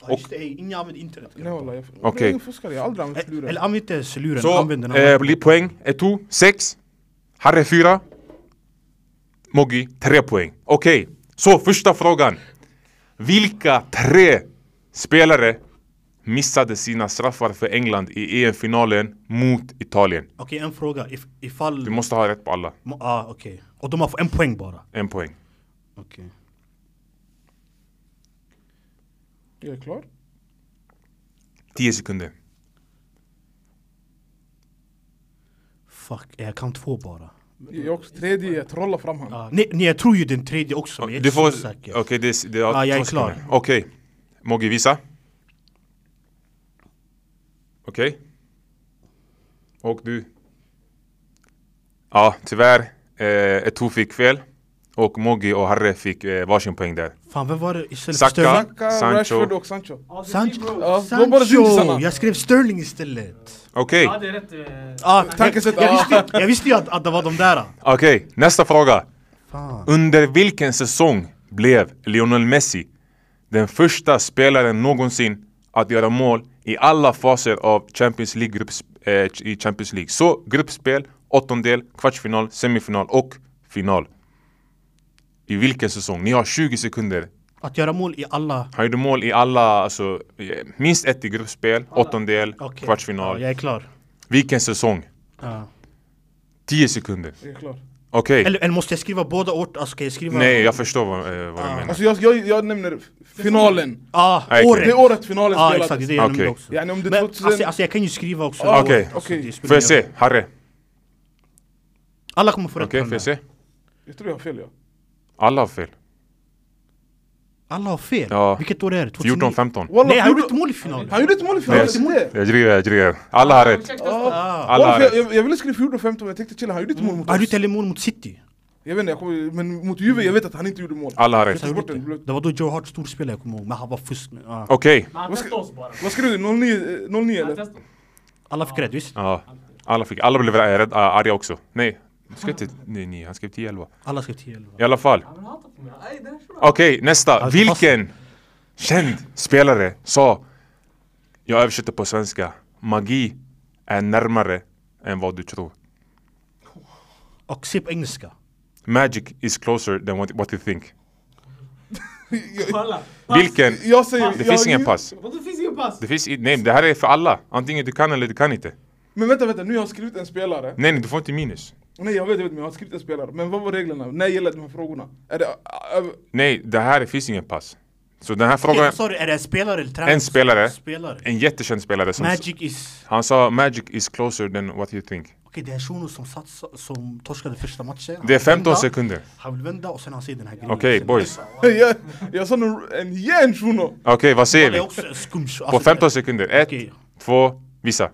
Speaker 4: Ja, just det, ej, ingen använder internet.
Speaker 3: Nej
Speaker 4: grabbar.
Speaker 3: walla, jag
Speaker 1: Okej.
Speaker 3: jag är ingen fuskare, jag har aldrig använt
Speaker 4: Eh,
Speaker 3: luren.
Speaker 4: Eller använd inte ens luren,
Speaker 1: Så,
Speaker 4: använd den
Speaker 1: eh,
Speaker 4: andra.
Speaker 1: blir poäng, Eto 6, Harry 4, Moggi 3 poäng. Okej, så första frågan. Vilka tre spelare missade sina straffar för England i EM-finalen mot Italien?
Speaker 4: Okej, en fråga. If, ifall...
Speaker 1: Du måste ha rätt på alla,
Speaker 4: Ja, ah, okej. Och de har fått en poäng bara.
Speaker 1: en poäng.
Speaker 4: Okej.
Speaker 3: Jag är klar.
Speaker 1: 10 sekunder.
Speaker 4: Fuck, jag kan två bara.
Speaker 3: Jag är också tredje, jag trollar fram honom.
Speaker 4: Ah, nej, nej, jag tror ju den tredje också, men jag är
Speaker 1: Ah, Du
Speaker 4: inte
Speaker 1: får...
Speaker 4: så
Speaker 1: Okej,
Speaker 4: säker.
Speaker 1: det är... Det är
Speaker 4: Ja, jag är
Speaker 1: två
Speaker 4: klar.
Speaker 1: sekunder. Okej. Moggi, visa. Okej. Och du? Ja, tyvärr. Eh, Eto'o fick fel. Och Moggi och Harre fick eh, varsin poäng där.
Speaker 4: Fan, vem var det istället
Speaker 1: Saka.
Speaker 4: för Sterling?
Speaker 3: Saka,
Speaker 1: Sancho.
Speaker 3: Rashford och Sancho.
Speaker 2: typ
Speaker 4: Sancho!
Speaker 3: Ja, det var bara
Speaker 4: Sancho!
Speaker 3: syndisarna.
Speaker 4: Jag skrev Sterling istället.
Speaker 1: Okej,
Speaker 2: Ja, det är rätt. eh,
Speaker 4: Ah,
Speaker 3: Tankesätt,
Speaker 4: jag, jag,
Speaker 3: ah.
Speaker 4: visste, jag visste ju att, att det var de där.
Speaker 1: okej. Nästa fråga.
Speaker 4: Fan.
Speaker 1: Under vilken säsong blev Lionel Messi den första spelaren någonsin att göra mål i alla faser av Champions League, grupps, eh, i Champions League? Så gruppspel, åttondel, kvartsfinal, semifinal och final. I vilken säsong? Ni har 20 sekunder.
Speaker 4: Att göra mål i alla...
Speaker 1: Han gjorde mål i alla, alltså eh, minst ett i gruppspel, åttondel,
Speaker 4: Okej. Ja,
Speaker 1: kvartsfinal.
Speaker 4: jag är klar.
Speaker 1: Vilken säsong?
Speaker 4: Ja.
Speaker 1: 10 sekunder.
Speaker 3: Jag är klar.
Speaker 1: Okej.
Speaker 4: Eller, eller måste jag skriva båda ort? Alltså, ska jag skriva...
Speaker 1: Nej, jag förstår vad, eh, vad du menar.
Speaker 3: Alltså jag, jag, jag nämner finalen.
Speaker 4: Ah,
Speaker 1: Okej.
Speaker 4: året!
Speaker 3: Det är året finalen
Speaker 4: Ja, ah,
Speaker 3: spelades.
Speaker 4: exakt. Det är jag nämnde
Speaker 1: Okej.
Speaker 4: också.
Speaker 3: Ja, nej, om det är
Speaker 4: men,
Speaker 3: 2000
Speaker 4: alltså, alltså, jag kan ju skriva också.
Speaker 3: Ah,
Speaker 4: året.
Speaker 1: okej.
Speaker 4: Alltså,
Speaker 3: Okej.
Speaker 4: det spelar
Speaker 1: Får jag
Speaker 4: ingen roll.
Speaker 1: se? Harry?
Speaker 4: Alla kommer få rätt
Speaker 1: Okej,
Speaker 4: på den
Speaker 1: får jag
Speaker 4: där.
Speaker 1: se?
Speaker 3: Jag tror jag har fel jag.
Speaker 1: Alla har fel.
Speaker 4: Alla har fel.
Speaker 1: Ja.
Speaker 4: Vilket år är det? 2009?
Speaker 1: 14, 15.
Speaker 3: Walla,
Speaker 4: Nej, han gjorde
Speaker 3: gjorde-
Speaker 4: ett mål i finalen.
Speaker 3: Han gjorde ett mål i finalen,
Speaker 1: Yes.
Speaker 3: det är det.
Speaker 1: Jag driver, jag driver. Alla har rätt.
Speaker 2: ursäkta.
Speaker 3: Ja.
Speaker 1: Alla har
Speaker 3: Walla, för
Speaker 1: rätt.
Speaker 3: jag, jag, jag ville skriva 14-15 men jag tänkte chilla, han gjorde ett mål mot
Speaker 4: Han gjorde
Speaker 3: oss.
Speaker 4: Ah. ett heller mål mot City.
Speaker 3: Jag vet inte, jag kommer, men mot Juve, jag vet att han inte gjorde mål.
Speaker 1: Alla har rätt.
Speaker 3: Så jag bort den, blöt.
Speaker 4: Det var då Joe Hart storspelade, jag kommer ihåg. Men han var fusk. ah. nu. Ja.
Speaker 1: Okej.
Speaker 2: Men Han testade oss bara.
Speaker 3: Vad skrev du? 09, eh, 09
Speaker 2: Han
Speaker 3: eller?
Speaker 2: testade.
Speaker 4: Alla fick rätt, visst?
Speaker 1: Ja. Alla fick, alla blev rädda, arga också. Nej, du skrev inte 9, han skrev 10, 11.
Speaker 4: Alla skrev 10 11.
Speaker 1: I alla fall.
Speaker 2: Ja, men han hatar på mig. Nej, det här är så bra.
Speaker 1: Okej, nästa.
Speaker 4: Alltså,
Speaker 1: Vilken känd spelare sa, jag översätter på svenska, magi är närmare än vad du tror.
Speaker 4: Och se på engelska.
Speaker 1: Magic is closer than what, what you think.
Speaker 2: Kolla.
Speaker 1: Vilken?
Speaker 3: Jag säger...
Speaker 1: Det
Speaker 3: jag,
Speaker 1: finns ingen pass.
Speaker 2: Vadå, det finns ingen pass?
Speaker 1: Det finns i, nej, det här är för alla. Antingen du kan eller du kan inte.
Speaker 3: Men vänta, vänta, nu har jag skrivit en spelare.
Speaker 1: Nej, nej, du får inte minus.
Speaker 3: Nej jag vet, jag vet, men jag har skrivit en spelare. Men vad var reglerna? När gäller de här frågorna? Är det... äh, äh,
Speaker 1: Nej, det här finns ingen pass. Så den här
Speaker 4: Okej,
Speaker 1: frågan,
Speaker 4: Sorry, är det en spelare eller tränare?
Speaker 1: En spelare.
Speaker 4: Spelare.
Speaker 1: en jättekänd spelare som
Speaker 4: Magic is...
Speaker 1: Han sa magic is closer than what you think.
Speaker 4: Okej, det är Shuno som, satsa, som torskade första matchen. Han
Speaker 1: Det är
Speaker 4: vill
Speaker 1: 15
Speaker 4: vända.
Speaker 1: sekunder.
Speaker 4: Han vill vända och sen han säger den här grejen.
Speaker 1: Okej
Speaker 4: Sen-
Speaker 1: boys.
Speaker 3: äh, [laughs] jag, jag sa nog en igen shuno!
Speaker 1: Okej vad säger
Speaker 4: Det är
Speaker 1: vi?
Speaker 4: också en skum...
Speaker 1: På
Speaker 4: alltså,
Speaker 1: 15 sekunder. Ett,
Speaker 4: Okej.
Speaker 1: två, visa.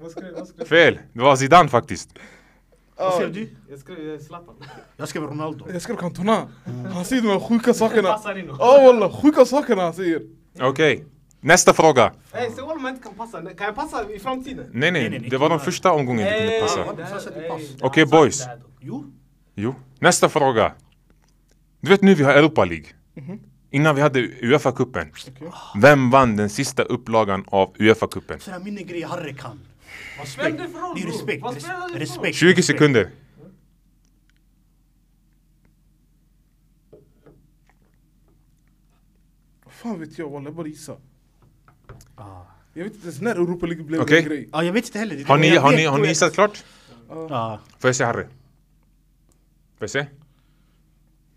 Speaker 2: Vad skrev- vad skrev-
Speaker 1: Fel. Det var Zidane faktiskt.
Speaker 4: Vad skrev du?
Speaker 2: Jag skrev eh, Zlatan.
Speaker 4: Jag skrev Ronaldo.
Speaker 3: Ah, Jag skrev Cantona. Han säger de här sjuka
Speaker 2: Det
Speaker 3: sakerna.
Speaker 2: passar in.
Speaker 3: Ja walla, sjuka sakerna han säger.
Speaker 1: Okej. Nästa fråga.
Speaker 2: Ey, se om man inte kan passa. Kan jag passa i framtiden?
Speaker 1: Nej
Speaker 4: Nej,
Speaker 1: nej,
Speaker 4: nej, nej,
Speaker 1: det var den
Speaker 4: inte.
Speaker 1: första omgången du kunde
Speaker 2: Ey,
Speaker 1: passa.
Speaker 2: det här-
Speaker 4: Passa, det
Speaker 2: ey,
Speaker 4: pass.
Speaker 2: det här-
Speaker 1: Okej,
Speaker 2: han sa
Speaker 1: boys.
Speaker 2: det här dock.
Speaker 4: Jo.
Speaker 1: Jo. Nästa fråga. Du vet nu vi har Europa League.
Speaker 2: Mhm.
Speaker 1: Innan vi hade Uefa-cupen. Vem vann den sista upplagan av Uefa-cupen?
Speaker 4: Sådana minne grejer Harry kan.
Speaker 2: Vad spelar det för roll
Speaker 4: Nej,
Speaker 2: bror?
Speaker 4: respekt,
Speaker 2: Vad
Speaker 4: res-
Speaker 2: spelar det för roll?
Speaker 4: respekt.
Speaker 1: 20 sekunder.
Speaker 3: Fan vet jag walla, jag bara gissar.
Speaker 4: Ah.
Speaker 3: Jag vet inte ens när Europa League blev
Speaker 1: Okej.
Speaker 3: en grej.
Speaker 4: Ja, jag vet inte heller. Det är
Speaker 1: Har
Speaker 4: det
Speaker 1: ni,
Speaker 4: jag
Speaker 1: har
Speaker 4: vet,
Speaker 1: ni, har
Speaker 4: bror,
Speaker 1: ni
Speaker 4: jag-
Speaker 1: gissat klart?
Speaker 4: Ja.
Speaker 1: Får jag se Harry? Får jag se?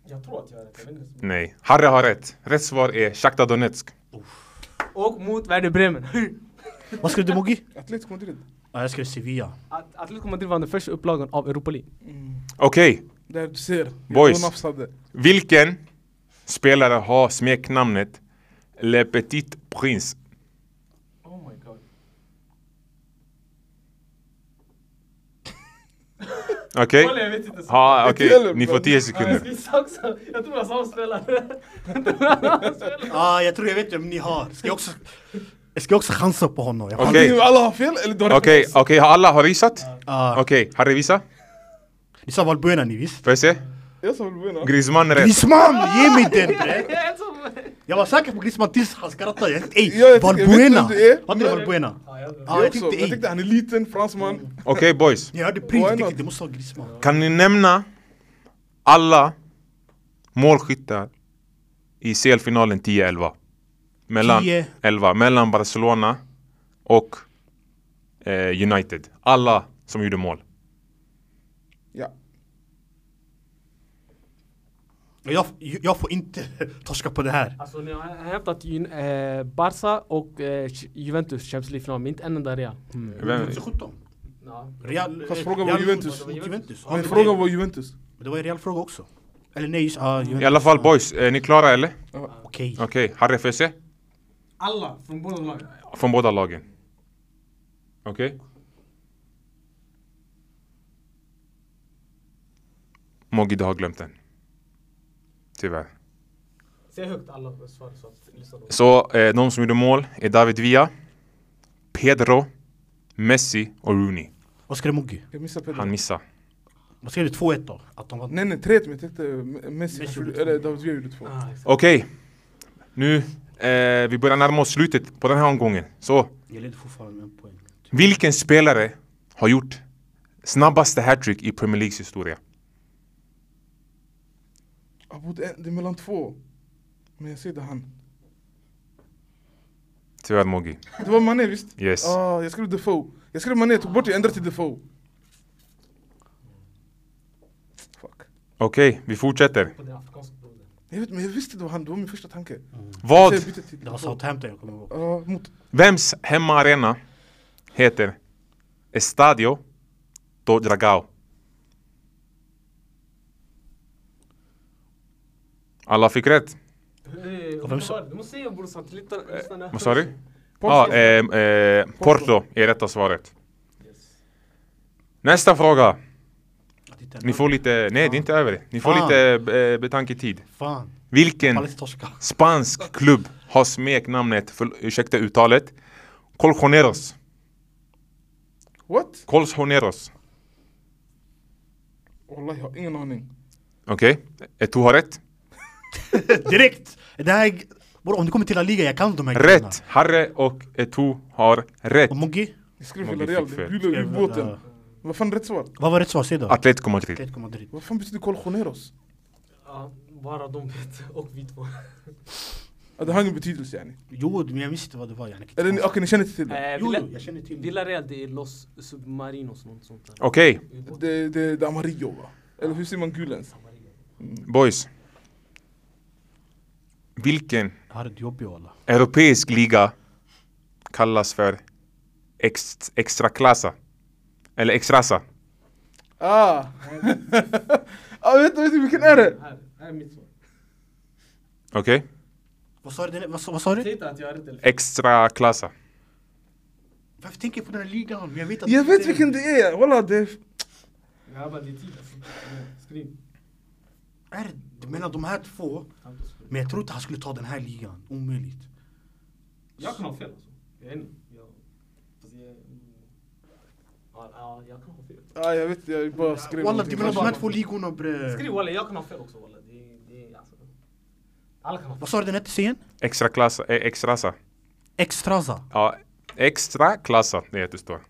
Speaker 2: Jag tror att jag är rätt, jag vet inte.
Speaker 1: Nej. Harry har rätt. Rätt svar är Shakhtar Donetsk.
Speaker 2: Och mot Werder Bremen. [laughs]
Speaker 4: Vad skrev du Mogi?
Speaker 3: Atletico Madrid.
Speaker 4: Ja, jag skrev Sevilla.
Speaker 2: Att- Atletico Madrid vann den första upplagan av Europa League.
Speaker 1: Okej.
Speaker 3: Där du ser.
Speaker 1: Boys.
Speaker 3: Jag nafsade.
Speaker 1: Vilken spelare har smeknamnet Le Petit Prince?
Speaker 2: Oh my god.
Speaker 1: Okej?
Speaker 2: Kolla jag vet inte.
Speaker 1: Ja, okej.
Speaker 3: Eller-
Speaker 1: Ni får 10
Speaker 2: Ja, jag
Speaker 1: sekunder.
Speaker 2: ska gissa också. Jag tror jag sa spelare. [laughs]
Speaker 4: Ja, jag tror jag vet vem ni har. Ska jag också, jag ska också chansa på honom. Jag-
Speaker 1: Okej.
Speaker 3: Antingen alla har fel eller du har rätt.
Speaker 1: Okej, okej. Har alla har visat?
Speaker 4: Ah,
Speaker 1: Okej, Harry visa.
Speaker 4: Ni sa Valbuena ni visst?
Speaker 1: Får jag se?
Speaker 3: Jag som vill vinna.
Speaker 1: Griezmann är rätt.
Speaker 4: Griezmann! Ge mig den bre!
Speaker 2: Jag är som...
Speaker 4: Jag var säker på Griezmann tills han skrattade. Jag tänkte
Speaker 3: Ja,
Speaker 4: ey,
Speaker 3: jag tänkte, jag vet
Speaker 4: Valbuena!
Speaker 3: vem det är,
Speaker 4: Hade det
Speaker 3: men-
Speaker 4: Valbuena?
Speaker 2: Ja, jag vet.
Speaker 4: Ja, jag
Speaker 3: Jag, också.
Speaker 4: tänkte
Speaker 3: jag
Speaker 4: ey.
Speaker 3: tänkte han är liten, fransman.
Speaker 1: Okej boys.
Speaker 4: När jag hörde prins, jag
Speaker 3: Why
Speaker 4: tänkte
Speaker 3: not?
Speaker 4: det måste vara Griezmann.
Speaker 1: Kan ni nämna alla målskyttar i CL-finalen 10-11? Mellan,
Speaker 4: 10.
Speaker 1: 11, mellan Barcelona och eh, United. Alla som gjorde mål.
Speaker 3: Ja.
Speaker 4: Jag, jag får inte [laughs] torska på det här.
Speaker 2: Alltså ni har hävdat Jun- eh, Barca och eh, Ch- Juventus Champions League-final, men inte en enda Real.
Speaker 1: Vem,
Speaker 4: 2017.
Speaker 2: Ja.
Speaker 4: Real...
Speaker 3: Fast
Speaker 4: eh,
Speaker 3: frågan var
Speaker 4: Real
Speaker 3: Juventus.
Speaker 4: mot Juventus. Ja,
Speaker 3: Men
Speaker 4: det
Speaker 3: frågan
Speaker 4: var-
Speaker 3: var Juventus.
Speaker 4: Det var en real fråga också. Eller nej, just- ja, Juventus.
Speaker 1: I alla fall boys, är ni klara eller?
Speaker 4: Okej.
Speaker 1: Okej, Harry får jag se?
Speaker 2: Alla från båda lagen.
Speaker 1: Från båda lagen. Okej? Moggi, du har glömt den. Tyvärr.
Speaker 2: Säg högt alla svar så att lyssnarna...
Speaker 1: Så eh, de som gjorde mål är David Villa, Pedro, Messi och Rooney.
Speaker 4: Vad skrev Moggi?
Speaker 3: Jag missade Pedro.
Speaker 1: Han missade.
Speaker 4: Vad skrev du? 2-1 då? Att de vann?
Speaker 3: Nej nej, 3-1 men jag tänkte eh, Messi,
Speaker 4: Messi
Speaker 3: gjorde-
Speaker 4: gjorde
Speaker 3: eller David Villa gjorde två.
Speaker 2: Ah, exakt.
Speaker 1: Okej, nu eh, vi börjar närma oss slutet på den här omgången. Så,
Speaker 4: Jag leder fortfarande med en poäng.
Speaker 1: vilken spelare har gjort snabbaste hattrick i Premier Leagues historia?
Speaker 3: Ah, borde en- Det är mellan två. Men jag säger det han.
Speaker 1: Tyvärr Moggi.
Speaker 3: Det var Mané visst?
Speaker 1: Yes.
Speaker 3: Ah, jag skrev Defoe. Jag skrev Mané, tog bort det, ändrade till Defoe. Fuck.
Speaker 1: Okej, vi fortsätter.
Speaker 2: På den afrikanska brodern.
Speaker 3: Jag vet men jag visste det var han, det var min första tanke.
Speaker 1: Vad,
Speaker 3: Jag bytte till
Speaker 4: Det var
Speaker 3: Defoe.
Speaker 4: Southampton jag kommer ihåg.
Speaker 3: Ja, mot
Speaker 1: vems hemmaarena heter Estadio do Dragao? Alla fick rätt.
Speaker 2: Eh,
Speaker 4: Och vem sa-
Speaker 2: Du måste säga brorsan till lyssnarna- lyssnarna.
Speaker 1: Eh, Vad sa du?
Speaker 3: Porto.
Speaker 1: Ja, ehm, eh, Porto är rätta svaret. Nästa fråga.
Speaker 4: Att inte-
Speaker 1: Ni får lite, nej det är inte över. Ni får
Speaker 4: Fan.
Speaker 1: lite eh, betanketid.
Speaker 4: Fan.
Speaker 1: Vilken
Speaker 4: Pallas torska. [laughs]
Speaker 1: spansk klubb har smeknamnet, för, ursäkta uttalet, Colchoneros?
Speaker 3: What?
Speaker 1: Colchoneros.
Speaker 3: Wallah, jag har ingen aning.
Speaker 1: Okej, okay. har rätt.
Speaker 4: Direkt! Det här... är- Bror, om du kommer till La Liga, jag kan de här grejerna.
Speaker 1: Rätt! Harry och Eto har rätt.
Speaker 4: Och Moggi?
Speaker 3: Jag skrev
Speaker 1: Moggi
Speaker 3: Villarreal,
Speaker 1: fick
Speaker 3: det
Speaker 1: fel.
Speaker 3: gula ubåten.
Speaker 4: Ja.
Speaker 3: Vad fan rätt svar?
Speaker 4: Vad var rätt svar? Säg då.
Speaker 1: Atletico
Speaker 3: Typ.
Speaker 1: Madrid.
Speaker 4: Atletico Madrid.
Speaker 3: Vad fan betyder Colchoneros?
Speaker 2: Ja, bara de vet och vi två.
Speaker 3: Ah, Det har ingen betydelse yani.
Speaker 4: Jo, men jag visste inte vad det var. Jag
Speaker 3: Eller ni- okej, ni känner inte till det?
Speaker 2: Eh,
Speaker 4: Jo,
Speaker 2: Villa-
Speaker 4: jo, jag känner till det.
Speaker 2: Villarreal det är Los Submarinos något sånt där.
Speaker 1: Okej,
Speaker 2: Ubåt.
Speaker 3: Det, det, det är Amarillo va? Eller hur säger man gul ens?
Speaker 1: boys. Vilken
Speaker 4: Det här är ett jobb walla.
Speaker 1: europeisk liga kallas för ex, extra klassa? Eller extrasa?
Speaker 3: Ah! [laughs] ah vet du, vet du vilken är det?
Speaker 2: Här, här är mitt svar.
Speaker 1: Okej?
Speaker 4: Vad sa du? Vad sa- vad sa
Speaker 2: Säg
Speaker 4: du?
Speaker 2: inte att jag har rätt eller
Speaker 1: Extra klassa.
Speaker 4: Varför tänker jag på den här ligan? Men Jag vet att...
Speaker 3: Jag vet vilken det är! Walla det är...
Speaker 2: Grabbar det är tid alltså. Skriv.
Speaker 4: Är det mellan de här två? Men jag tror inte han skulle ta den här ligan. Omöjligt.
Speaker 2: Jag kan ha fel alltså. Jag är en. Jag... Fast jag... mm. Ja, ja, jag kan ha fel.
Speaker 3: Ah jag vet, jag bara skrev
Speaker 4: Walla, det
Speaker 3: någonting.
Speaker 4: är mellan de här två ligorna bre.
Speaker 2: Skriv walla, jag kan ha fel också walla. Det är, det är alltså. Alla kan ha fel.
Speaker 4: Vad sa du den hette sen?
Speaker 1: Extra klassa, eh, extrasa.
Speaker 4: Extraza.
Speaker 1: Ja, extra klassa, det heter det står.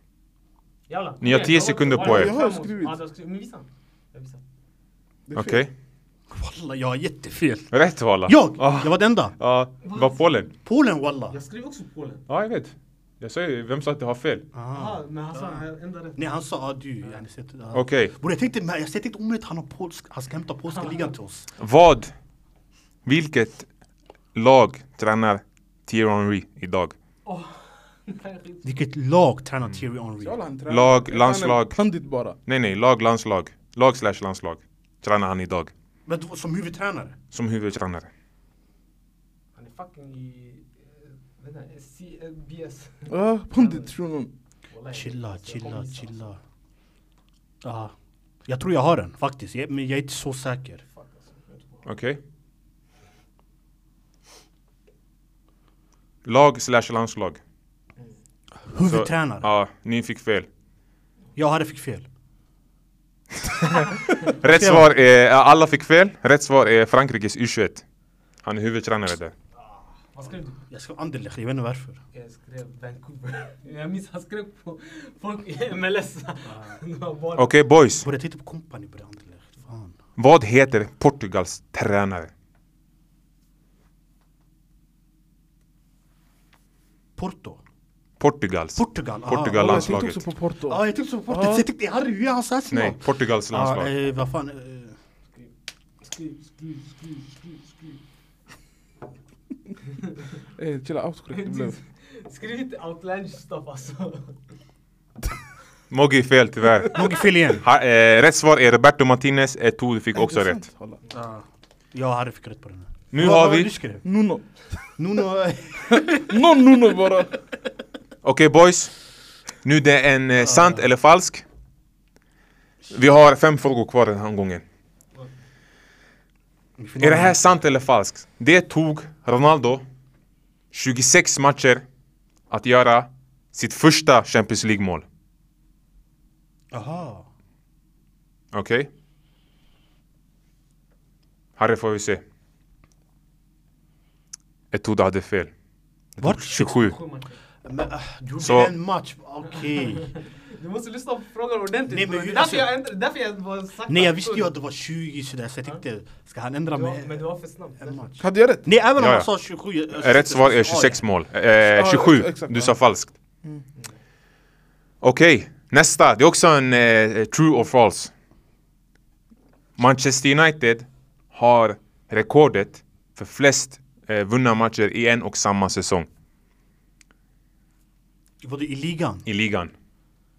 Speaker 5: Jalla.
Speaker 1: Ni har
Speaker 5: Nej,
Speaker 1: 10
Speaker 5: jag
Speaker 1: sekunder
Speaker 5: Ja,
Speaker 1: på er.
Speaker 5: jag
Speaker 3: Jag har
Speaker 5: framåt.
Speaker 3: skrivit.
Speaker 5: Ja, du har skrivit. Men visa. Jag visar.
Speaker 3: Det är fel.
Speaker 1: Okej?
Speaker 4: Walla, jag har jättefel.
Speaker 1: Rätt Ah, walla.
Speaker 4: Jag!
Speaker 3: Ah.
Speaker 1: Ja,
Speaker 4: Jag var den enda.
Speaker 1: Ja, var Polen.
Speaker 4: Polen walla.
Speaker 5: Jag skrev också Polen.
Speaker 1: Ja, jag vet. Jag säger vem sa att du har fel?
Speaker 4: Ah.
Speaker 5: Jaha, men han sa ända
Speaker 2: [laughs]
Speaker 5: rätt.
Speaker 4: Nej han sa ah, du, yani, sett, ah.
Speaker 1: Okej.
Speaker 4: Bror jag tänkte, men jag tänkte omöjligt han har polsk, han ska hämta polska ligan till oss.
Speaker 1: Vad? Vilket lag tränar Thierry Henry idag?
Speaker 5: Nej, skit.
Speaker 4: Vilket lag tränar
Speaker 3: Mm.
Speaker 4: Thierry Henry?
Speaker 3: Så alla han tränar.
Speaker 1: Lag,
Speaker 3: Han är
Speaker 1: landslag.
Speaker 3: Pandit bara.
Speaker 1: Nej, nej, lag, landslag. Lag slash landslag tränar han idag.
Speaker 4: Men då- som huvudtränare?
Speaker 1: Som huvudtränare.
Speaker 5: Han är fucking i... eh, Vet inte, CBS.
Speaker 3: Ja, Ah, pandit shunon.
Speaker 5: Wallahi.
Speaker 4: Chilla, chilla,
Speaker 5: Jag
Speaker 4: chilla.
Speaker 1: alltså.
Speaker 4: Ah. Jag tror jag har den faktiskt, jag, men jag är inte så säker.
Speaker 1: Okej? Lag slash landslag.
Speaker 4: Huvudtränare?
Speaker 1: Ja, ni fick fel.
Speaker 4: Jag hade fick fel.
Speaker 1: Rätt svar är, alla fick fel. Rätt svar är Frankrikes U21. Han är huvudtränare där.
Speaker 5: Vad skrev du?
Speaker 4: Jag skrev Anderlecht, jag vet inte varför.
Speaker 5: Jag skrev [laughs] Vancouver. Jag minns han skrev på [laughs] folk i MLS. [laughs] Det var bara...
Speaker 1: Okej boys,
Speaker 4: Bror jag tänkte på kompani bror, Anderlecht. Fan.
Speaker 1: vad heter Portugals tränare?
Speaker 4: Porto?
Speaker 1: Portugals.
Speaker 4: Portugal? ah.
Speaker 1: Portugal.
Speaker 3: Jag tänkte
Speaker 1: landslaget.
Speaker 3: också på Porto.
Speaker 4: Ja, jag tänkte på Porto. Jag tänkte Harry, hur är hans hans
Speaker 1: Nej,
Speaker 4: namn?
Speaker 1: Portugals
Speaker 4: Ja,
Speaker 1: landslag.
Speaker 4: eh, vad fan. eh,
Speaker 5: Skriv, skriv, skriv, skriv, skriv.
Speaker 3: Eh, chilla, outcorrect det blev.
Speaker 5: Skriv inte outlandish stuff [laughs] alltså.
Speaker 1: Moggi fel tyvärr.
Speaker 4: Något fel
Speaker 1: [laughs]
Speaker 4: igen.
Speaker 1: Ha, eh, rätt svar är Roberto Martinez, ett du fick [laughs] också
Speaker 3: Det är
Speaker 1: rätt.
Speaker 3: sant, kolla.
Speaker 4: Ja, jag hade fick rätt på den här.
Speaker 1: Nu
Speaker 4: Vad
Speaker 1: har
Speaker 4: var det
Speaker 1: vi...
Speaker 4: Du
Speaker 1: Okej
Speaker 4: skrev.
Speaker 3: Nuno.
Speaker 4: Nuno...
Speaker 3: Någon Nuno bara.
Speaker 1: boys, nu det är en
Speaker 3: Ah.
Speaker 1: eh, sant eller falsk. Vi har fem frågor kvar den här gången. Är
Speaker 3: Mm.
Speaker 1: det här sant eller falskt? Det tog Ronaldo 26 matcher att göra sitt första Champions League-mål.
Speaker 4: Aha.
Speaker 1: Okej? Harry får vi se. Etuda hade fel. Det
Speaker 4: Vart?
Speaker 1: tog 27.
Speaker 4: Men, äh, du gjorde
Speaker 1: Så-
Speaker 4: en match, okej.
Speaker 5: Du måste lyssna på frågan ordentligt.
Speaker 4: Nej,
Speaker 5: Nej,
Speaker 4: men
Speaker 5: men, det
Speaker 4: vi-
Speaker 5: är därför
Speaker 4: alltså-
Speaker 5: jag ändrade, därför jag var sakta.
Speaker 4: Nej jag
Speaker 2: Alltså,
Speaker 4: visste ju att det var 20 sådär så jag tänkte, ska han ändra
Speaker 5: Du var-
Speaker 4: med
Speaker 5: Men du var för snabb.
Speaker 4: en match?
Speaker 3: Hade jag rätt?
Speaker 4: Nej även om
Speaker 1: Ja, ja.
Speaker 4: han sa eh, 27... jag- jag-
Speaker 1: Rätt svar är
Speaker 4: Ja,
Speaker 1: 26
Speaker 4: ja.
Speaker 1: mål. Eh, 27.
Speaker 3: exakt,
Speaker 1: Du
Speaker 3: ja.
Speaker 1: sa falskt. Okej, nästa. Det är också en eh, true or false. Manchester United har rekordet för flest eh, vunna matcher i en och samma säsong
Speaker 4: Var det i ligan?
Speaker 1: i ligan.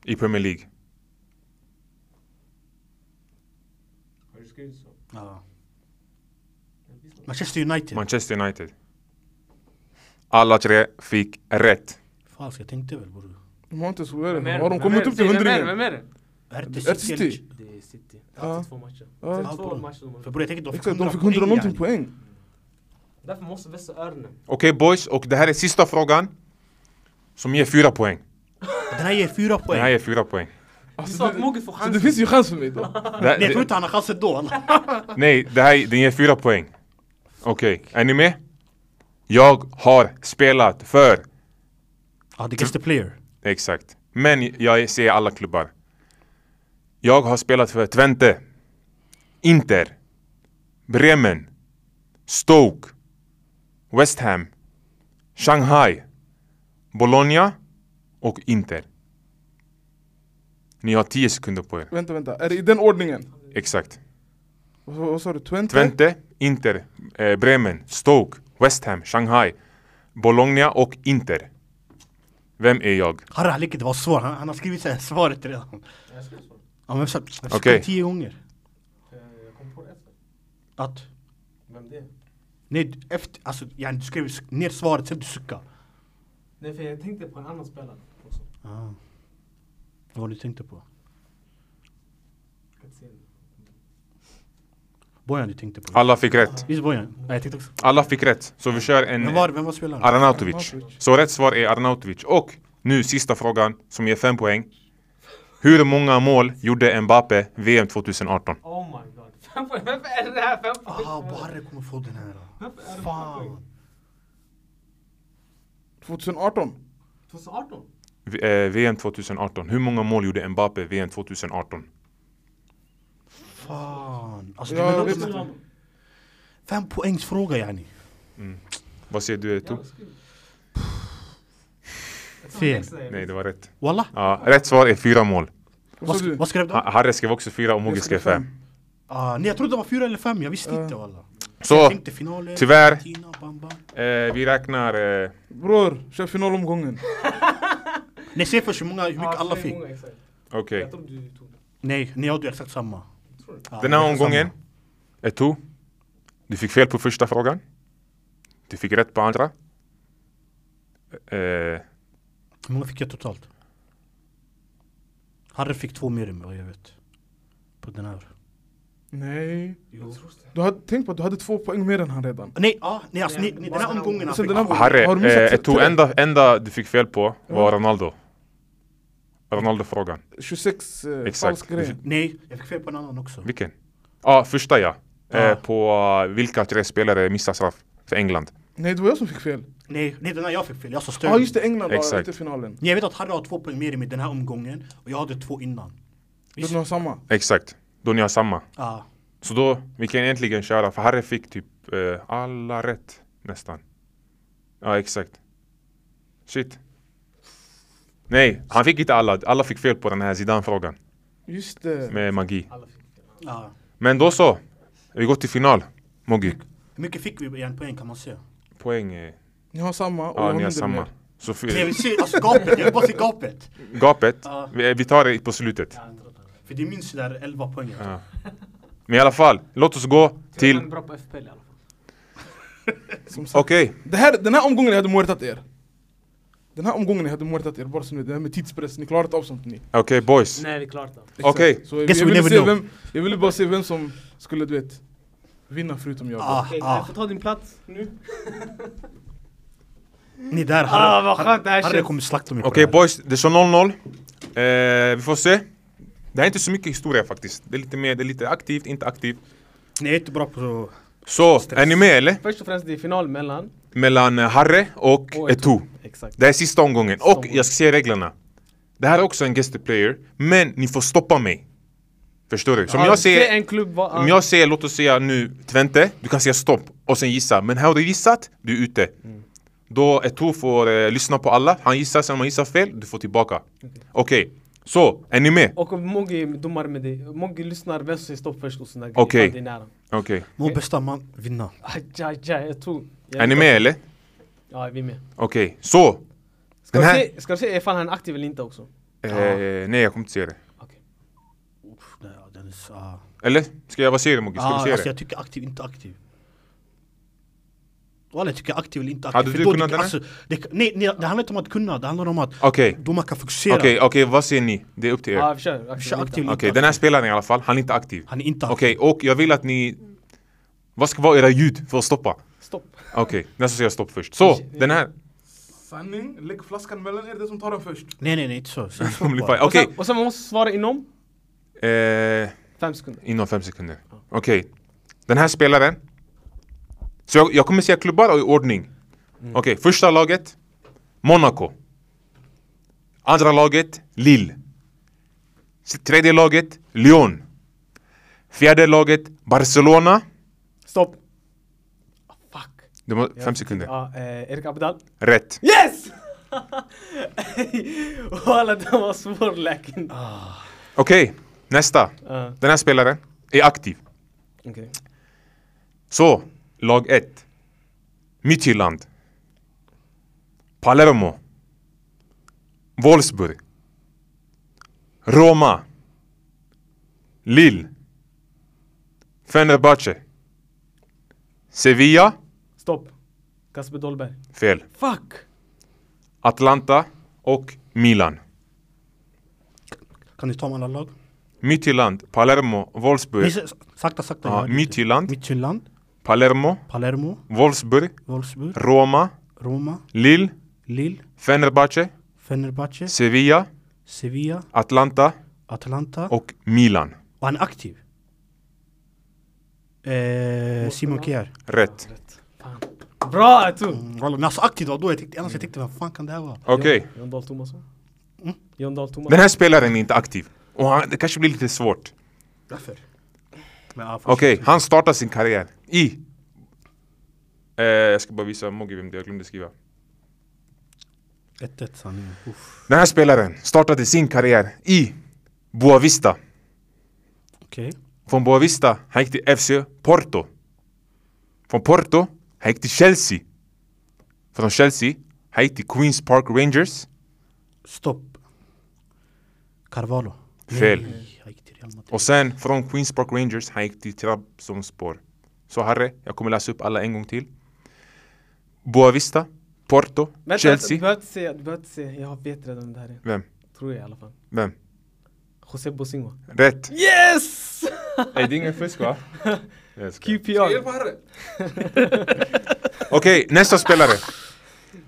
Speaker 1: I Premier League.
Speaker 5: Har du skrivit så?
Speaker 4: Ja. Manchester United?
Speaker 1: Manchester United. Alla tre fick rätt.
Speaker 4: Falskt, jag tänkte väl bror.
Speaker 3: De har inte så rätt.
Speaker 5: Vem är
Speaker 3: Har de
Speaker 5: det?
Speaker 3: kommit
Speaker 5: Vem är
Speaker 3: upp till
Speaker 5: det? Vem är det?
Speaker 3: hundringen?
Speaker 5: Vem är det?
Speaker 4: Ärte
Speaker 3: Ärte City.
Speaker 4: City?
Speaker 5: Det är City.
Speaker 3: Ja.
Speaker 5: Två matcher.
Speaker 3: Ja.
Speaker 5: Det är två
Speaker 4: Allt på
Speaker 5: matcher de har
Speaker 4: För bror jag tänkte de fick
Speaker 3: Exakt,
Speaker 4: 100
Speaker 3: de fick 100 någonting
Speaker 4: yani.
Speaker 3: poäng.
Speaker 5: Därför måste vässa öronen.
Speaker 1: Okej boys, och det här är sista frågan. Som ger fyra poäng.
Speaker 4: Den här ger 4
Speaker 1: Den här
Speaker 4: poäng.
Speaker 1: ger fyra poäng.
Speaker 5: Du
Speaker 3: Alltså,
Speaker 5: sa att
Speaker 3: det,
Speaker 5: Mogge får
Speaker 3: så det
Speaker 5: chansen.
Speaker 3: finns ju chans för mig då.
Speaker 1: Det, här-
Speaker 4: Nej jag tror
Speaker 1: det,
Speaker 4: inte han har chansen
Speaker 1: [laughs]
Speaker 4: då. alla.
Speaker 1: nej, det här, den ger fyra poäng. Okej, är ni med? Jag har spelat för...
Speaker 4: Ja, the guest the player.
Speaker 1: Exakt. Men jag ser alla klubbar. Jag har spelat för Twente, Inter, Bremen, Stoke, West Ham, Shanghai, Bologna och Inter. Ni har 10 sekunder på er.
Speaker 3: Vänta, vänta. Är det i den ordningen?
Speaker 1: Exakt.
Speaker 3: Vad, vad sa du? Twente?
Speaker 1: Twente, Inter, eh, Bremen, Stoke, West Ham, Shanghai, Bologna och Inter. Vem är jag?
Speaker 4: Harry Haliki, det var svårt. Han, han har skrivit så här svaret redan.
Speaker 5: Jag skrev så.
Speaker 4: Ja, men så, jag
Speaker 1: Okej.
Speaker 4: okay. tio gånger.
Speaker 5: Eh, Jag kom på det efter.
Speaker 4: Att,
Speaker 5: Vem det är.
Speaker 4: nej, efter, alltså, ja, du skrev sk- ner svaret sen du suckade.
Speaker 5: Nej för jag tänkte på en annan spelare också.
Speaker 4: Ah. Vad var det du tänkte på?
Speaker 5: Jag kan inte se den.
Speaker 4: Bojan du tänkte på.
Speaker 1: Alla fick rätt.
Speaker 4: Visst Bojan? Nej, jag tänkte också.
Speaker 1: Alla fick rätt, så vi kör en
Speaker 4: Vem var, vem var spelaren?
Speaker 1: Arnautovic. Så rätt svar är Arnautovic. Och nu sista frågan som ger fem poäng. Hur många mål gjorde Mbappe VM 2018?
Speaker 5: Oh my god. Fem poäng. Varför är det här fem poäng?
Speaker 4: Ah, Barre kommer få den här.
Speaker 5: Varför är det fem poäng?
Speaker 4: Fan.
Speaker 3: 2018?
Speaker 5: 2018?
Speaker 1: V- eh, VM 2018. Hur många mål gjorde Mbappe VM 2018?
Speaker 4: Fan. Alltså,
Speaker 3: Ja,
Speaker 4: det
Speaker 3: jag
Speaker 4: är
Speaker 3: vet
Speaker 4: väl
Speaker 3: inte.
Speaker 4: något- fem poängsfråga yani.
Speaker 1: Vad säger du Tub?
Speaker 4: Fel.
Speaker 1: Nej, det var rätt.
Speaker 4: Walla.
Speaker 1: Ja, rätt svar är fyra mål.
Speaker 3: Vad
Speaker 4: Vad,
Speaker 3: sa du?
Speaker 4: sk- vad skrev du?
Speaker 1: Ha- Harry skrev också fyra och Mogge
Speaker 3: Jag
Speaker 1: skrev
Speaker 3: skrev
Speaker 1: fem.
Speaker 4: Ah, nej jag trodde det var fyra eller fem, jag visste inte walla. Jag
Speaker 1: Så,
Speaker 4: tänkte finalen,
Speaker 1: tyvärr.
Speaker 4: Argentina, bam, bam.
Speaker 1: eh, vi räknar... Eh,
Speaker 3: Bror, kör finalomgången.
Speaker 4: Nej säg först hur många, hur mycket
Speaker 5: Ja,
Speaker 4: alla
Speaker 5: tre
Speaker 4: fick.
Speaker 5: gånger, exakt.
Speaker 1: Okej.
Speaker 5: Jag tror du tog det.
Speaker 4: Nej, ni hade ju exakt samma. Ah,
Speaker 1: Den här
Speaker 4: exakt
Speaker 1: omgången,
Speaker 4: samma.
Speaker 1: Eto, du fick fel på första frågan. Du fick rätt på andra. Eh,
Speaker 4: Hur många fick jag totalt? Harry fick två mer än vad jag vet. På den här.
Speaker 3: Nej.
Speaker 5: Jag tror det.
Speaker 3: Du hade, tänk på att du hade två poäng mer än han redan.
Speaker 4: Nej, ah, nej alltså ni,
Speaker 5: Nej,
Speaker 4: ni, den
Speaker 5: bara
Speaker 4: här
Speaker 5: den här
Speaker 4: omgången
Speaker 5: omgången.
Speaker 4: han
Speaker 3: Sen
Speaker 4: fick.
Speaker 3: den här-
Speaker 1: Harry,
Speaker 3: Har du missat
Speaker 1: eh, Eto,
Speaker 3: tre?
Speaker 1: enda, enda du fick fel på var
Speaker 3: Ja.
Speaker 1: Ronaldo. Ronaldo-frågan.
Speaker 3: 26 eh,
Speaker 1: Exakt.
Speaker 3: falsk grej.
Speaker 4: Nej, jag fick fel på en annan också.
Speaker 1: Vilken? Ja, ah, första ja. Eh,
Speaker 4: Ja.
Speaker 1: på eh, vilka tre spelare missar straff för England.
Speaker 3: Nej, det var jag som fick fel.
Speaker 4: Nej, nej den här jag fick fel, jag sa
Speaker 3: Ja
Speaker 4: Sterling.
Speaker 3: ah, just det, England var
Speaker 1: Exakt.
Speaker 3: inte finalen.
Speaker 4: Nej, jag vet att Harry har två poäng mer än mig den här omgången och jag hade två innan.
Speaker 3: Du har samma.
Speaker 1: Exakt. Då ni har samma.
Speaker 4: Ah,
Speaker 1: Så då, vi kan egentligen köra, för Harry fick typ eh, alla rätt nästan. Ja, exakt. Shit. Nej, han fick inte alla. Alla fick fel på den här Zidane-frågan
Speaker 3: Just det.
Speaker 1: med magi.
Speaker 5: Alla fick fel.
Speaker 4: ah.
Speaker 1: Men då så. Vi går till final. Moggi.
Speaker 4: Hur mycket fick vi i en poäng kan man säga?
Speaker 1: Poäng. Eh,
Speaker 3: Ni har samma och
Speaker 1: ja,
Speaker 3: jag
Speaker 1: ni har
Speaker 3: mindre
Speaker 1: samma.
Speaker 3: mer.
Speaker 1: Så f-
Speaker 4: Nej, vi ser, alltså gapet, jag vill bara se gapet.
Speaker 1: gapet,
Speaker 4: Ja.
Speaker 1: vi, vi tar det på slutet.
Speaker 5: Ja, jag tror det.
Speaker 4: För det är minst där 11 poäng. jag tror.
Speaker 1: Men i alla fall, låt oss gå till...
Speaker 5: Han är bra på FPL i alla fall.
Speaker 3: Som sagt.
Speaker 1: Okej.
Speaker 3: Det här, den här omgången jag hade mördat er. Den här omgången jag hade mördat er, bara så ni vet. Det här med tidspress, ni klarar inte av sånt ni.
Speaker 1: Okej boys.
Speaker 5: Nej, vi klarade det.
Speaker 3: Exakt.
Speaker 1: Okej.
Speaker 3: Så jag,
Speaker 4: Guess
Speaker 3: jag,
Speaker 4: we
Speaker 3: ville
Speaker 4: never
Speaker 3: se
Speaker 4: know.
Speaker 3: vem, jag ville bara se vem som skulle, du vet, vinna förutom jag.
Speaker 4: Ah,
Speaker 5: Okej,
Speaker 4: ah.
Speaker 5: du får ta din plats nu.
Speaker 4: Ni där,
Speaker 5: Ah,
Speaker 4: Harry,
Speaker 5: vad skönt det här
Speaker 4: Harry
Speaker 5: känns.
Speaker 4: kommer slakta mig på
Speaker 1: Okej
Speaker 4: det här.
Speaker 1: boys, det står 0-0. Eh, vi får se. Det här är inte så mycket historia faktiskt. Det är lite mer, det är lite aktivt, inte aktivt.
Speaker 4: Ni är inte bra på...
Speaker 1: Så, är ni med eller?
Speaker 5: Först och främst, det är final mellan...
Speaker 1: Mellan eh, Harre och
Speaker 5: Och
Speaker 1: Eto.
Speaker 5: Exakt.
Speaker 1: Det här är sista omgången.
Speaker 5: Sista
Speaker 1: Och
Speaker 5: omgången.
Speaker 1: jag ska säga reglerna. Det här är också en guest player, men ni får stoppa mig. Förstår du? Som
Speaker 5: Ja,
Speaker 1: jag
Speaker 5: se
Speaker 1: säger,
Speaker 5: en klubb var...
Speaker 1: om jag säger, låt oss säga nu Twente, du kan säga stopp och sen gissa. Men här har du gissat, du är ute. Då Eto får eh, lyssna på alla, han gissar, sen om han gissar fel, du får tillbaka. Okej, så är ni med?
Speaker 5: Och Moggi är domare med dig. Moggi lyssnar vem som säger stopp först och sådana
Speaker 1: Okej.
Speaker 5: Det är nära.
Speaker 1: Okej.
Speaker 4: Må bästa man vinna.
Speaker 5: Aj, aj, aj, jag tror... jag
Speaker 1: Är ni
Speaker 5: vet
Speaker 1: med eller?
Speaker 5: att- Ja, vi är med.
Speaker 1: Okej, så!
Speaker 5: Ska,
Speaker 1: Den här-
Speaker 5: du se, ska du se ifall han är aktiv eller inte också?
Speaker 1: Eh, nej jag kommer inte se det.
Speaker 5: Okej.
Speaker 4: Uff, nej, den är så... Ah,
Speaker 1: Eller? Ska jag, vad säger du Mogge? Ska
Speaker 4: ah,
Speaker 1: du se
Speaker 4: alltså
Speaker 1: det?
Speaker 4: jag tycker aktiv, inte aktiv. Walla jag tycker aktiv eller inte aktiv.
Speaker 1: Hade
Speaker 4: för
Speaker 1: du
Speaker 4: då
Speaker 1: kunnat
Speaker 4: det,
Speaker 1: den här?
Speaker 4: alltså, det, nej, nej, det handlar inte om att kunna, det handlar om att
Speaker 1: Okej,
Speaker 4: domaren kan fokusera.
Speaker 1: okej, okej vad säger ni? Det är upp till er.
Speaker 5: Ja,
Speaker 1: Okej,
Speaker 5: vi kör. Aktiv,
Speaker 4: Vi kör
Speaker 5: eller inte.
Speaker 4: aktiv eller inte
Speaker 1: den här
Speaker 4: aktiv.
Speaker 1: spelaren i alla fall, han är inte aktiv.
Speaker 4: Han är inte aktiv.
Speaker 1: Okej, och jag vill att ni... Vad ska vara era ljud för att stoppa?
Speaker 5: Stopp.
Speaker 1: Okej, nästa ska jag stopp först. Så, den här.
Speaker 3: Sanning, lägg flaskan mellan er, det som tar den först.
Speaker 4: Nej nej nej, inte så.
Speaker 1: [laughs]
Speaker 4: Säg stopp
Speaker 1: kommer bli
Speaker 4: bara.
Speaker 1: fine. Okej,
Speaker 5: Och, sen, och sen man måste svara inom
Speaker 1: eh,
Speaker 5: fem sekunder.
Speaker 1: inom fem sekunder. Okej, den här spelaren. Så jag, jag kommer säga klubbar och i ordning. Okej, första laget. Monaco. Andra laget, Lille. S- Tredje laget, Lyon. Fjärde laget, Barcelona.
Speaker 5: Stopp. Ah, fuck.
Speaker 1: Det var fem sekunder.
Speaker 5: Ja, eh, Erik Abdal.
Speaker 1: Rätt.
Speaker 2: [laughs]
Speaker 5: Yes! Walla, den var svår läken.
Speaker 1: Okej, nästa.
Speaker 5: Ja,
Speaker 1: Den här spelaren är aktiv.
Speaker 5: Okej.
Speaker 1: Så, lag 1. Midtjylland. Palermo. Wolfsburg. Roma. Lille. Fenerbahce. Sevilla.
Speaker 5: Stopp. Kasper Dolberg.
Speaker 1: Fel.
Speaker 5: Fuck!
Speaker 1: Atlanta och Milan.
Speaker 4: Kan ni ta om alla lag?
Speaker 1: Midtjylland, Palermo,
Speaker 4: Nej,
Speaker 1: Wolfsburg.
Speaker 4: s- sakta sakta. jag
Speaker 1: Ja,
Speaker 4: hörde inte.
Speaker 1: Midtjylland,
Speaker 4: Midtjylland,
Speaker 1: Palermo,
Speaker 4: Palermo,
Speaker 1: Wolfsburg,
Speaker 4: Wolfsburg,
Speaker 1: Roma,
Speaker 4: Roma,
Speaker 1: Lille,
Speaker 4: Lille,
Speaker 1: Fenerbahce,
Speaker 4: Fenerbahce,
Speaker 1: Sevilla,
Speaker 4: Sevilla,
Speaker 1: Atlanta
Speaker 4: Atalanta
Speaker 1: och Milan.
Speaker 4: och han är aktiv. Eh, Simon Kjaer.
Speaker 1: Rätt.
Speaker 5: Rätt. Fan. Bra Atu!
Speaker 4: Mm, walla, men alltså aktiv då, då jag tänkte, annars jag tänkte vem fan kan det här vara?
Speaker 1: Okej,
Speaker 5: John Dahl Tomasson.
Speaker 2: John Dahl Tomas.
Speaker 1: Den här spelaren är inte aktiv. Och han, det kanske blir lite svårt.
Speaker 4: Varför? Men, ja,
Speaker 1: Okej, han startar sin karriär i... Eh, jag ska bara visa Mogge vem det är, jag glömde skriva.
Speaker 4: 1-1 sanningen. Uff.
Speaker 1: Den här spelaren startade sin karriär i Boavista.
Speaker 4: Okej.
Speaker 1: Från Boavista, han gick till FC Porto. Från Porto, han gick till Chelsea. Från Chelsea, han gick till Queens Park Rangers.
Speaker 4: Stopp. Carvalho.
Speaker 1: Fel.
Speaker 4: Nej, jag gick till Real Madrid.
Speaker 1: Och sen från Queens Park Rangers, han gick till Trabzonspor. Så Harry, jag kommer läsa upp alla en gång till. Boavista, Porto,
Speaker 2: Vänta, Du
Speaker 1: Chelsea.
Speaker 2: behöver inte säga, du behöver inte säga. Jag vet redan vem det här är.
Speaker 1: Vem?
Speaker 2: Tror jag i alla fall.
Speaker 1: Vem?
Speaker 2: José Bosingo.
Speaker 1: Rätt!
Speaker 2: Yes!
Speaker 1: Nej, det är ingen fusk [laughs] va?
Speaker 2: QPR.
Speaker 3: Harry!
Speaker 1: Okej, nästa spelare.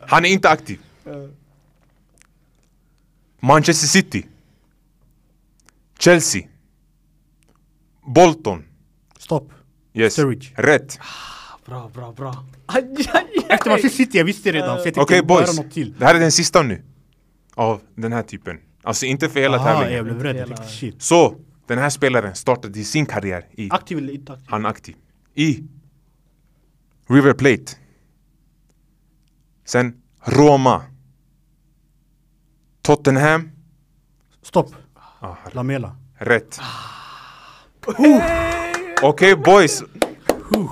Speaker 1: Han är inte aktiv. Manchester City. Chelsea. Bolton.
Speaker 4: Stopp.
Speaker 1: Yes.
Speaker 4: Sturridge.
Speaker 1: Rätt.
Speaker 2: Bra, bra, bra.
Speaker 4: Efter Manchester City, jag visste redan. så jag tänkte
Speaker 1: Okej
Speaker 4: jag bara
Speaker 1: boys,
Speaker 4: något till.
Speaker 1: det här är den sista nu. Av den här typen. Alltså inte för hela
Speaker 4: Aha,
Speaker 1: tävlingen.
Speaker 4: jag blev rädd. Jag
Speaker 2: Hela-
Speaker 4: tänkte shit.
Speaker 1: Så, den här spelaren startade sin karriär i...
Speaker 4: Aktiv eller inte aktiv?
Speaker 1: Han är aktiv. I River Plate. Sen Roma. Tottenham.
Speaker 4: Stopp.
Speaker 1: Ah,
Speaker 4: Lamela.
Speaker 1: Rätt. Okej boys.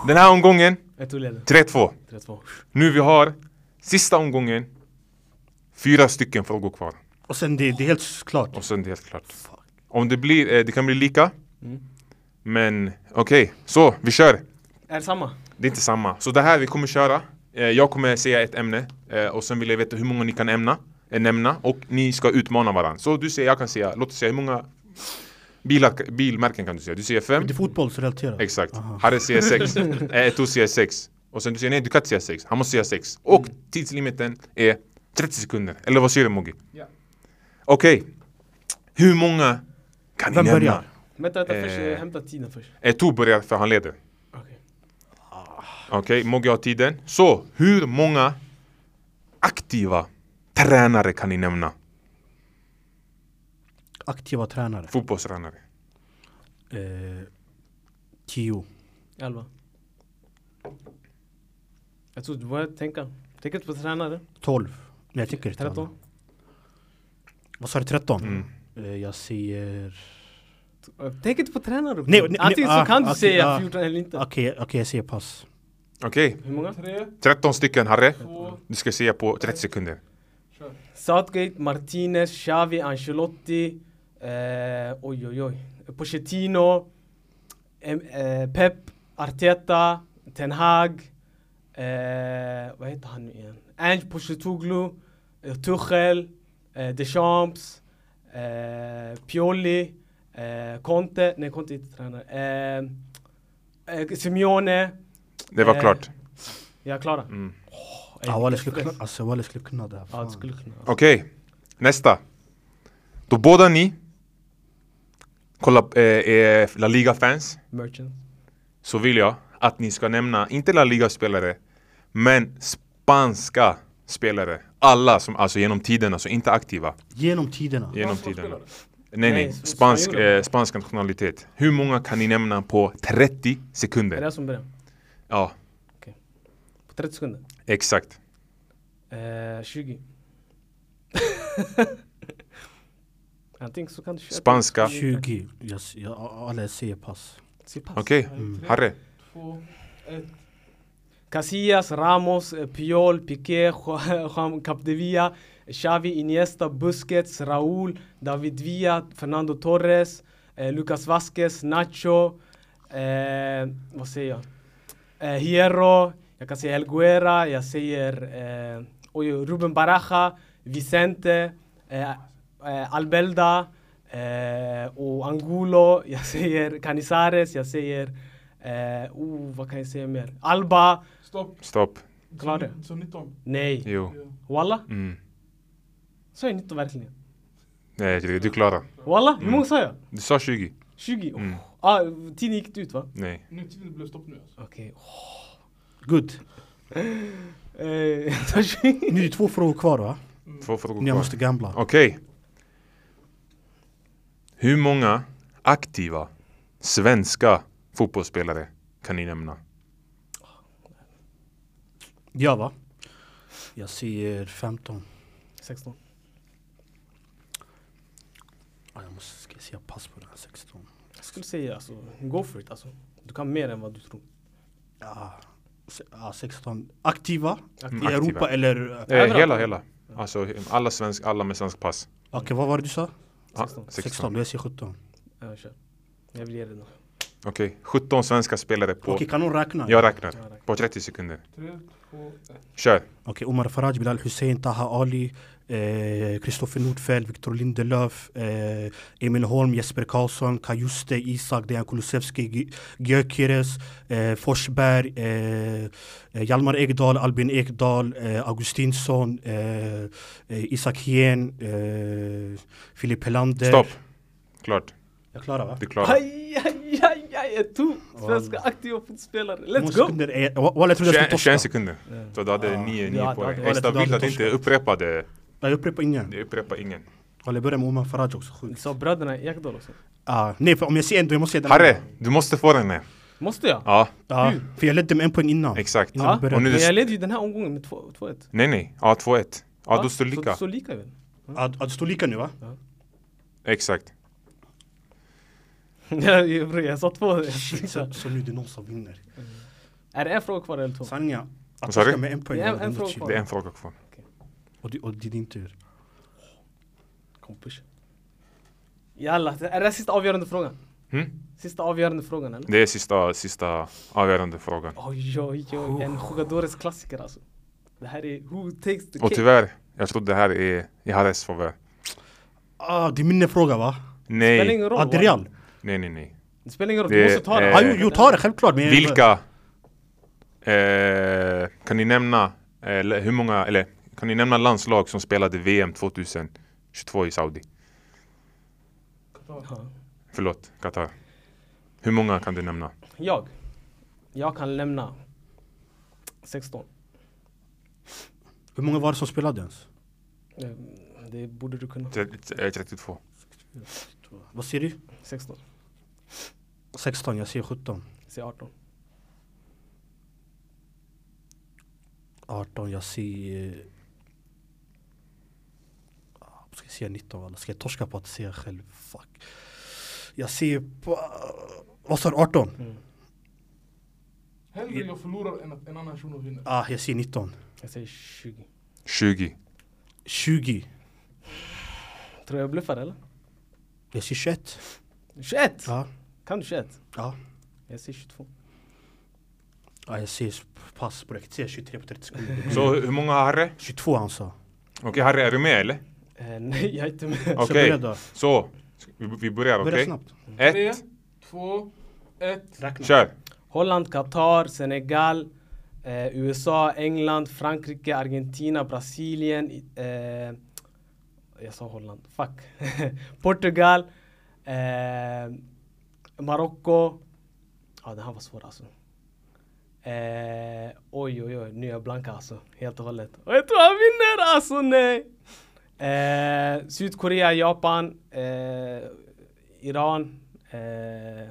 Speaker 1: Den här omgången,
Speaker 2: Jag tog leden.
Speaker 1: 3-2.
Speaker 2: 3-2.
Speaker 1: Nu vi har sista omgången. Fyra stycken frågor kvar.
Speaker 4: Och sen det, det är helt klart.
Speaker 1: Och sen det är helt klart. Om det blir, eh, det kan bli lika. Men okej, så vi kör.
Speaker 2: Är det samma?
Speaker 1: Det är inte samma. Så det här vi kommer köra. Eh, jag kommer säga ett ämne eh, och sen vill jag veta hur många ni kan ämna, eh, nämna och ni ska utmana varandra. Så du säger, jag kan säga, låt oss säga hur många bilar, bilmärken kan du säga? Du säger fem.
Speaker 4: Det är fotbollsrelaterat.
Speaker 1: Exakt.
Speaker 4: Aha.
Speaker 1: Harry säger
Speaker 4: [laughs]
Speaker 1: sex, eh, Eto säger sex. Och sen du säger nej, du kan inte säga sex. Han måste säga sex. Och tidslimiten är 30 sekunder. Eller vad säger du Mogge?
Speaker 2: Ja.
Speaker 1: Okej. Hur många kan ni
Speaker 4: Vem
Speaker 1: nämna?
Speaker 4: börjar?
Speaker 2: Vänta, vänta först.
Speaker 1: Eh.
Speaker 2: Eh. Hämta tiden först.
Speaker 1: Eto börjar för han leder.
Speaker 2: Okej.
Speaker 1: Okej, Mogge har tiden. Så, hur många aktiva tränare kan ni nämna?
Speaker 4: Aktiva tränare.
Speaker 1: Fotbollstränare.
Speaker 4: Eh, tio.
Speaker 2: Elva. Jag tror du börjar tänka. Tänk inte på tränare.
Speaker 4: Tolv. Nej jag tänker inte.
Speaker 2: Tretton.
Speaker 4: annat. Vad sa du? Tretton?
Speaker 1: Mm.
Speaker 4: Eh, jag säger...
Speaker 2: Eh, Tänk inte på tränare.
Speaker 4: Nej, nej,
Speaker 2: Antingen
Speaker 4: nej,
Speaker 2: så kan
Speaker 4: ah,
Speaker 2: du
Speaker 4: okej,
Speaker 2: säga
Speaker 4: ah.
Speaker 2: 14 eller inte.
Speaker 4: Okej, okej, jag säger pass.
Speaker 1: Okej,
Speaker 2: Hur många?
Speaker 3: 3,
Speaker 1: 13 stycken Harry.
Speaker 3: 2,
Speaker 1: Du ska säga på 30 sekunder.
Speaker 2: Southgate, Martinez, Xavi, Ancelotti. Eh, oj, oj, oj. Pochettino. Em, eh, Pep, Arteta, Ten Hag. Eh, vad heter han nu igen? Ange Pochettoglu. Eh, Tuchel. Eh, Deschamps. Eh, Pioli. Eh, Conte. Nej, Conte är inte tränare. Eh, eh, Simeone.
Speaker 1: Det var
Speaker 2: Eh,
Speaker 1: klart.
Speaker 2: Är jag klara?
Speaker 1: Mm.
Speaker 2: Åh,
Speaker 4: Ja,
Speaker 2: eh,
Speaker 4: Wally skulle kunna, alltså, Wally skulle kunna det här.
Speaker 2: Ja,
Speaker 4: fan.
Speaker 2: det skulle kunna.
Speaker 1: Okej, nästa. Då båda ni kolla, eh, är La Liga-fans
Speaker 2: Merchant.
Speaker 1: så vill jag att ni ska nämna, inte La Liga-spelare, men spanska spelare. Alla som, alltså genom tiden, alltså inte aktiva.
Speaker 4: Genom tiderna.
Speaker 1: Genom tiden. Nej, nej.
Speaker 2: Nej, sp-
Speaker 1: Spansk,
Speaker 2: spanjorer.
Speaker 1: eh, spansk nationalitet. Hur många kan ni nämna på 30
Speaker 2: Är det
Speaker 1: sekunder?
Speaker 2: jag som börjar?
Speaker 1: Ja,
Speaker 2: På 30 sekunder?
Speaker 1: exakt.
Speaker 2: Eh, 20. Antingen så kan du köra.
Speaker 1: Spanska.
Speaker 4: 20. Jag, s- jag, alla jag säger pass.
Speaker 2: Se pass.
Speaker 1: Okej, Harry.
Speaker 3: 2,
Speaker 2: Casillas, Ramos, eh, Piol, Piqué, [laughs] Ju- Juan Capdevilla, Xavi, Iniesta, Busquets, Raúl, David Villa, Fernando Torres, eh, Lucas Vasquez, Nacho, eh, vad säger jag? Eh, Hierro, jag kan säga Elguera, jag säger eh, oj, Ruben Baraja, Vicente, eh, eh, Albelda eh, och Angulo, [laughs] jag säger Canizares, jag säger Eh, oh, vad kan jag säga mer? Alba!
Speaker 3: Stopp.
Speaker 1: Stopp.
Speaker 2: Klar det?
Speaker 3: Som 19.
Speaker 2: Nej.
Speaker 1: Jo.
Speaker 2: Walla?
Speaker 1: Mm.
Speaker 2: Sa jag 19 verkligen?
Speaker 1: Nej, du du klarar.
Speaker 2: Walla? Hur många sa jag?
Speaker 1: Du sa 20.
Speaker 2: 20? Oh.
Speaker 1: Mm.
Speaker 2: Ah, tiden gick inte ut va?
Speaker 1: Nej.
Speaker 3: Nu tiden blev stopp nu alltså.
Speaker 2: Okej. Oh.
Speaker 4: Good.
Speaker 2: Eh, jag sa 20. Eh, [laughs]
Speaker 4: Nu är det två frågor kvar va?
Speaker 1: Två frågor
Speaker 4: Jag
Speaker 1: kvar.
Speaker 4: måste gambla.
Speaker 1: Okej. Hur många aktiva svenska fotbollsspelare kan ni nämna?
Speaker 4: Jag va? Jag säger 15.
Speaker 2: 16.
Speaker 4: Ah, Jag måste ska jag säga pass på den här 16.
Speaker 2: Jag skulle säga alltså, go for it alltså. Du kan mer än vad du tror.
Speaker 4: Ja, se- ja, 16. Aktiva
Speaker 1: Mm,
Speaker 4: i Europa eller? eh,
Speaker 1: Eh, hela, hela. Alltså alla, svensk, alla med svensk pass.
Speaker 4: Okej, vad var det du sa?
Speaker 1: Ah,
Speaker 2: 16.
Speaker 1: 16.
Speaker 4: Jag säger 17.
Speaker 2: Ja, kör. Jag vill ge dig den.
Speaker 1: Okej, 17 svenska spelare på...
Speaker 4: Okej, kan hon räkna?
Speaker 1: Jag räknar. På 30 sekunder. Kör.
Speaker 4: Okej, Omar Faraj, Bilal Hussein, Taha Ali, eh, Kristoffer Nordfeldt, Viktor Lindelöf, eh, Emil Holm, Jesper Karlsson, Kajuste, Isak, Dejan Kulusevski, G- Gyökeres, eh, Forsberg, eh, eh, Hjalmar Ekdal, Albin Ekdal, eh, Augustinsson, eh, eh, Isak Hien, eh, Filip Helander.
Speaker 1: Stopp. Klart.
Speaker 4: Jag klarar va?
Speaker 1: Du klarar.
Speaker 2: Aj, aj, aj, aj, jag tog svenska aktiva fotbollsspelare.
Speaker 4: Många
Speaker 2: Let's go!
Speaker 4: sekunder är- Wa- Walla, jag trodde
Speaker 1: 20,
Speaker 4: jag skulle
Speaker 1: 21
Speaker 4: torska.
Speaker 1: sekunder. Så du hade 9
Speaker 2: Eh.
Speaker 1: 9
Speaker 2: Ja, det hade-
Speaker 1: poäng.
Speaker 2: det
Speaker 1: Det är
Speaker 4: hade- det
Speaker 1: stabilt
Speaker 4: hade
Speaker 1: att inte upprepa det.
Speaker 4: Jag upprepar ingen.
Speaker 1: Det upprepar ingen.
Speaker 4: Walla, jag börjar med Omar Faraj också. Sjukt.
Speaker 2: Så bröderna Ekdal också.
Speaker 4: Ah, nej, för om jag ser en då jag måste jag den
Speaker 1: Harre,
Speaker 4: andra.
Speaker 1: du måste få den här.
Speaker 2: Måste jag?
Speaker 1: Ja,
Speaker 4: Ja, för jag ledde med en poäng innan.
Speaker 1: exakt.
Speaker 4: Ja,
Speaker 2: Ja,
Speaker 4: vi börjar.
Speaker 1: Och nu
Speaker 2: men
Speaker 1: är det
Speaker 2: jag
Speaker 1: s-
Speaker 2: ledde ju den här omgången med 2-1.
Speaker 1: nej, nej. Ja, 2-1. Ja, då står det
Speaker 2: Så,
Speaker 1: lika.
Speaker 2: så lika [laughs] väl?
Speaker 4: Ja, det står lika nu va?
Speaker 1: Exakt.
Speaker 2: jag, jag, jag sa två.
Speaker 4: Shit, så, så nu är det någon som vinner.
Speaker 2: [laughs] Är det en fråga kvar eller två?
Speaker 4: Sanninga, att
Speaker 1: Vad sa du?
Speaker 4: torska med en poäng
Speaker 2: Det är en-
Speaker 4: var
Speaker 2: en
Speaker 4: ändå
Speaker 2: fråga
Speaker 4: chill.
Speaker 2: kvar.
Speaker 1: Det är en fråga kvar.
Speaker 4: Och det, och det är din tur.
Speaker 2: Kompis. Jalla, är det här sista avgörande frågan?
Speaker 1: Mm?
Speaker 2: Sista avgörande frågan eller?
Speaker 1: Det är sista, sista avgörande frågan.
Speaker 2: Oj, oj, oj.
Speaker 1: Oh.
Speaker 2: En Jugadores klassiker alltså. Det här är who takes the
Speaker 1: Och
Speaker 2: cake.
Speaker 1: tyvärr, jag tror det här är i Harres favör.
Speaker 4: Ah, det är min fråga va?
Speaker 2: Det spelar
Speaker 1: Nej,
Speaker 2: ingen roll.
Speaker 4: Ah, det är Real.
Speaker 1: nej, nej, nej.
Speaker 2: Det spelar ingen roll,
Speaker 1: Det-
Speaker 2: du måste ta det.
Speaker 1: eh,
Speaker 4: Ah, jo, jo, ta det självklart. Men jag-
Speaker 1: Vilka? Eh, kan ni nämna, eller hur många, eller kan ni nämna landslag som spelade VM 2022 i Saudi?
Speaker 2: Ja.
Speaker 1: Förlåt, Qatar. Hur många kan du nämna?
Speaker 2: Jag. Jag kan lämna 16.
Speaker 4: Hur många var det som spelade ens?
Speaker 2: Eh, Det borde du kunna.
Speaker 1: Tre- eh, 32.
Speaker 4: Vad säger du?
Speaker 2: 16.
Speaker 4: 16, jag säger 17.
Speaker 2: Säg 18.
Speaker 4: 18, jag säger... Ah, Ska jag säga 19 eller ska jag torska på att säga själv? Fuck. Jag säger på... Vad sa du? 18?
Speaker 3: Hellre jag förlorar än att en annan shuno vinner.
Speaker 4: Ah, jag säger 19.
Speaker 2: Jag säger 20.
Speaker 1: 20.
Speaker 4: 20.
Speaker 2: Tror jag bluffar eller?
Speaker 4: Jag säger 21.
Speaker 2: 21!
Speaker 4: Ja.
Speaker 2: Kan du 21?
Speaker 4: Ja.
Speaker 2: Jag säger 22.
Speaker 4: Ja, jag ser pass på det. Jag ser 23 på alltså. 30 [laughs] sekunder.
Speaker 1: Så hur många har Harry?
Speaker 4: 22 han sa.
Speaker 1: Okej Harry, är du med eller?
Speaker 2: Eh, nej, jag är inte med.
Speaker 1: Okej,
Speaker 4: börja då.
Speaker 1: så. ska Vi, vi börjar
Speaker 4: Börja
Speaker 1: okej?
Speaker 4: snabbt.
Speaker 3: Tre,
Speaker 1: Ett,
Speaker 3: två, ett.
Speaker 4: Räkna.
Speaker 1: kör.
Speaker 2: Holland, Qatar, Senegal, eh, USA, England, Frankrike, Argentina, Brasilien. i- Eh, jag sa Holland, fuck. [laughs] Portugal, eh, Marocko. Ja, den här var svår alltså. Eh, oj, oj, oj, nu är jag blank alltså. Helt och hållet. Och jag tror han vinner alltså, nej! Eh, Sydkorea, Japan, eh, Iran. Eh,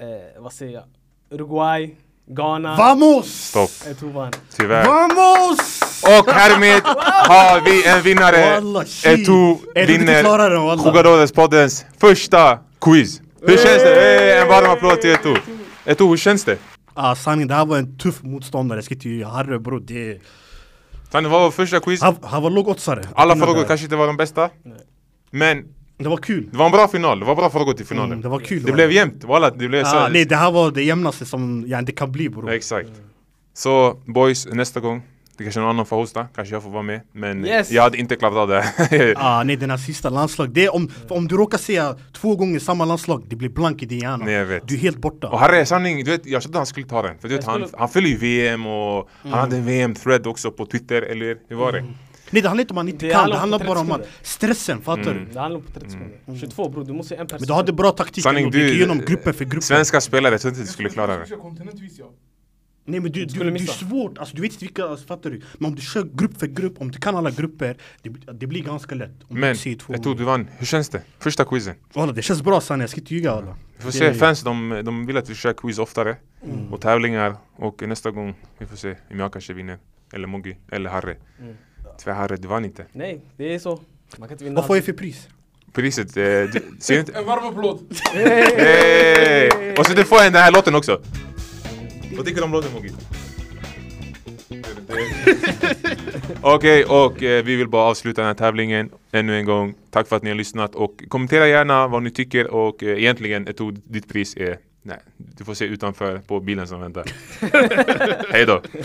Speaker 2: eh, vad säger jag? Uruguay, Ghana.
Speaker 4: Vamos!
Speaker 1: Stopp,
Speaker 2: Jag tror vann.
Speaker 1: tyvärr.
Speaker 4: Vamos!
Speaker 1: Och härmed har vi en vinnare.
Speaker 4: Wallah, shit.
Speaker 1: Eto
Speaker 4: Är du inte
Speaker 1: vinner
Speaker 4: klarare än wallah?
Speaker 1: Jugadorespoddens första quiz. Hur känns det? Hey, en varm applåd till Eto. Eto, hur känns det?
Speaker 4: Ah, sanningen, det här var en tuff motståndare. Jag ska inte ljuga. Harry bror, det...
Speaker 1: Sanne, vad var första quiz?
Speaker 4: Han, han var lågoddsare.
Speaker 1: Alla
Speaker 4: Innan
Speaker 1: frågor
Speaker 4: det.
Speaker 1: kanske inte var de bästa. Men
Speaker 4: Det var kul.
Speaker 1: det var en bra final. Det var bra frågor till finalen.
Speaker 4: Mm, det var kul.
Speaker 1: Det blev jämnt, walla det blev
Speaker 4: ah,
Speaker 1: så
Speaker 4: Nej, det här var det jämnaste som ja, det kan bli bror.
Speaker 1: Exakt Så boys, nästa gång Det kanske någon annan får hosta, kanske jag får vara med Men
Speaker 2: Yes.
Speaker 1: jag hade inte klarat av det [laughs] här.
Speaker 4: Ah, nej, den här sista landslag. Det är om, för om du råkar säga två gånger samma landslag, det blir blank i din hjärna.
Speaker 1: Nej, jag vet.
Speaker 4: Du är helt borta.
Speaker 1: Och Harry, sanning, du vet, jag trodde han skulle ta den För du vet,
Speaker 2: Jag
Speaker 1: han,
Speaker 2: skulle-
Speaker 1: han följer ju VM och
Speaker 4: Mm.
Speaker 1: han hade en VM-thread också på Twitter, eller hur var det?
Speaker 4: Nej, det handlar inte om att man inte
Speaker 2: Det
Speaker 4: kan.
Speaker 2: handlar om
Speaker 4: Det handlar
Speaker 2: 30
Speaker 4: bara om att
Speaker 2: sekunder.
Speaker 4: stressen, fattar du?
Speaker 5: Mm.
Speaker 2: Det handlar om på 30 sekunder. 22 bror, du måste ju en person.
Speaker 4: Mm. Men du hade bra taktik
Speaker 1: Sanning,
Speaker 4: ändå, du gick
Speaker 1: du-
Speaker 4: igenom gruppen för gruppen
Speaker 1: Svenska spelare, jag trodde inte du skulle klara det
Speaker 3: Kontinentvis ja.
Speaker 4: Nej men du, du,
Speaker 5: skulle
Speaker 4: det är
Speaker 5: missa.
Speaker 4: svårt, alltså, du vet inte vilka, alltså, fattar du? Men om du kör grupp för grupp, om du kan alla grupper, det, blir- det blir ganska lätt. Om
Speaker 1: Men,
Speaker 4: du ser två.
Speaker 1: jag tror du vann. Hur känns det? Första quizen.
Speaker 4: Walla, det känns bra sanne, jag ska inte ljuga alla.
Speaker 1: Vi får se, fans de, de vill att vi kör quiz oftare.
Speaker 4: Mm.
Speaker 1: Och tävlingar. Och nästa gång, vi får se. Om jag kanske vinner. Eller Moggi. Eller Harry.
Speaker 4: Mm.
Speaker 1: Tyvärr Harry, du vann inte.
Speaker 5: Nej, det är så. Man kan inte vinna
Speaker 4: Vad får jag
Speaker 5: allt.
Speaker 4: för pris?
Speaker 1: Priset, eh, du, ser inte?
Speaker 3: En varm applåd!
Speaker 1: Hey! Och så du får den här låten också. Vad tycker du om låten Moggi? Okej, och eh, vi vill bara avsluta den här tävlingen ännu en gång. Tack för att ni har lyssnat och kommentera gärna vad ni tycker och eh, egentligen, jag tror [laughs] ditt pris är... Nej, du får se utanför på bilen som väntar. Hej då!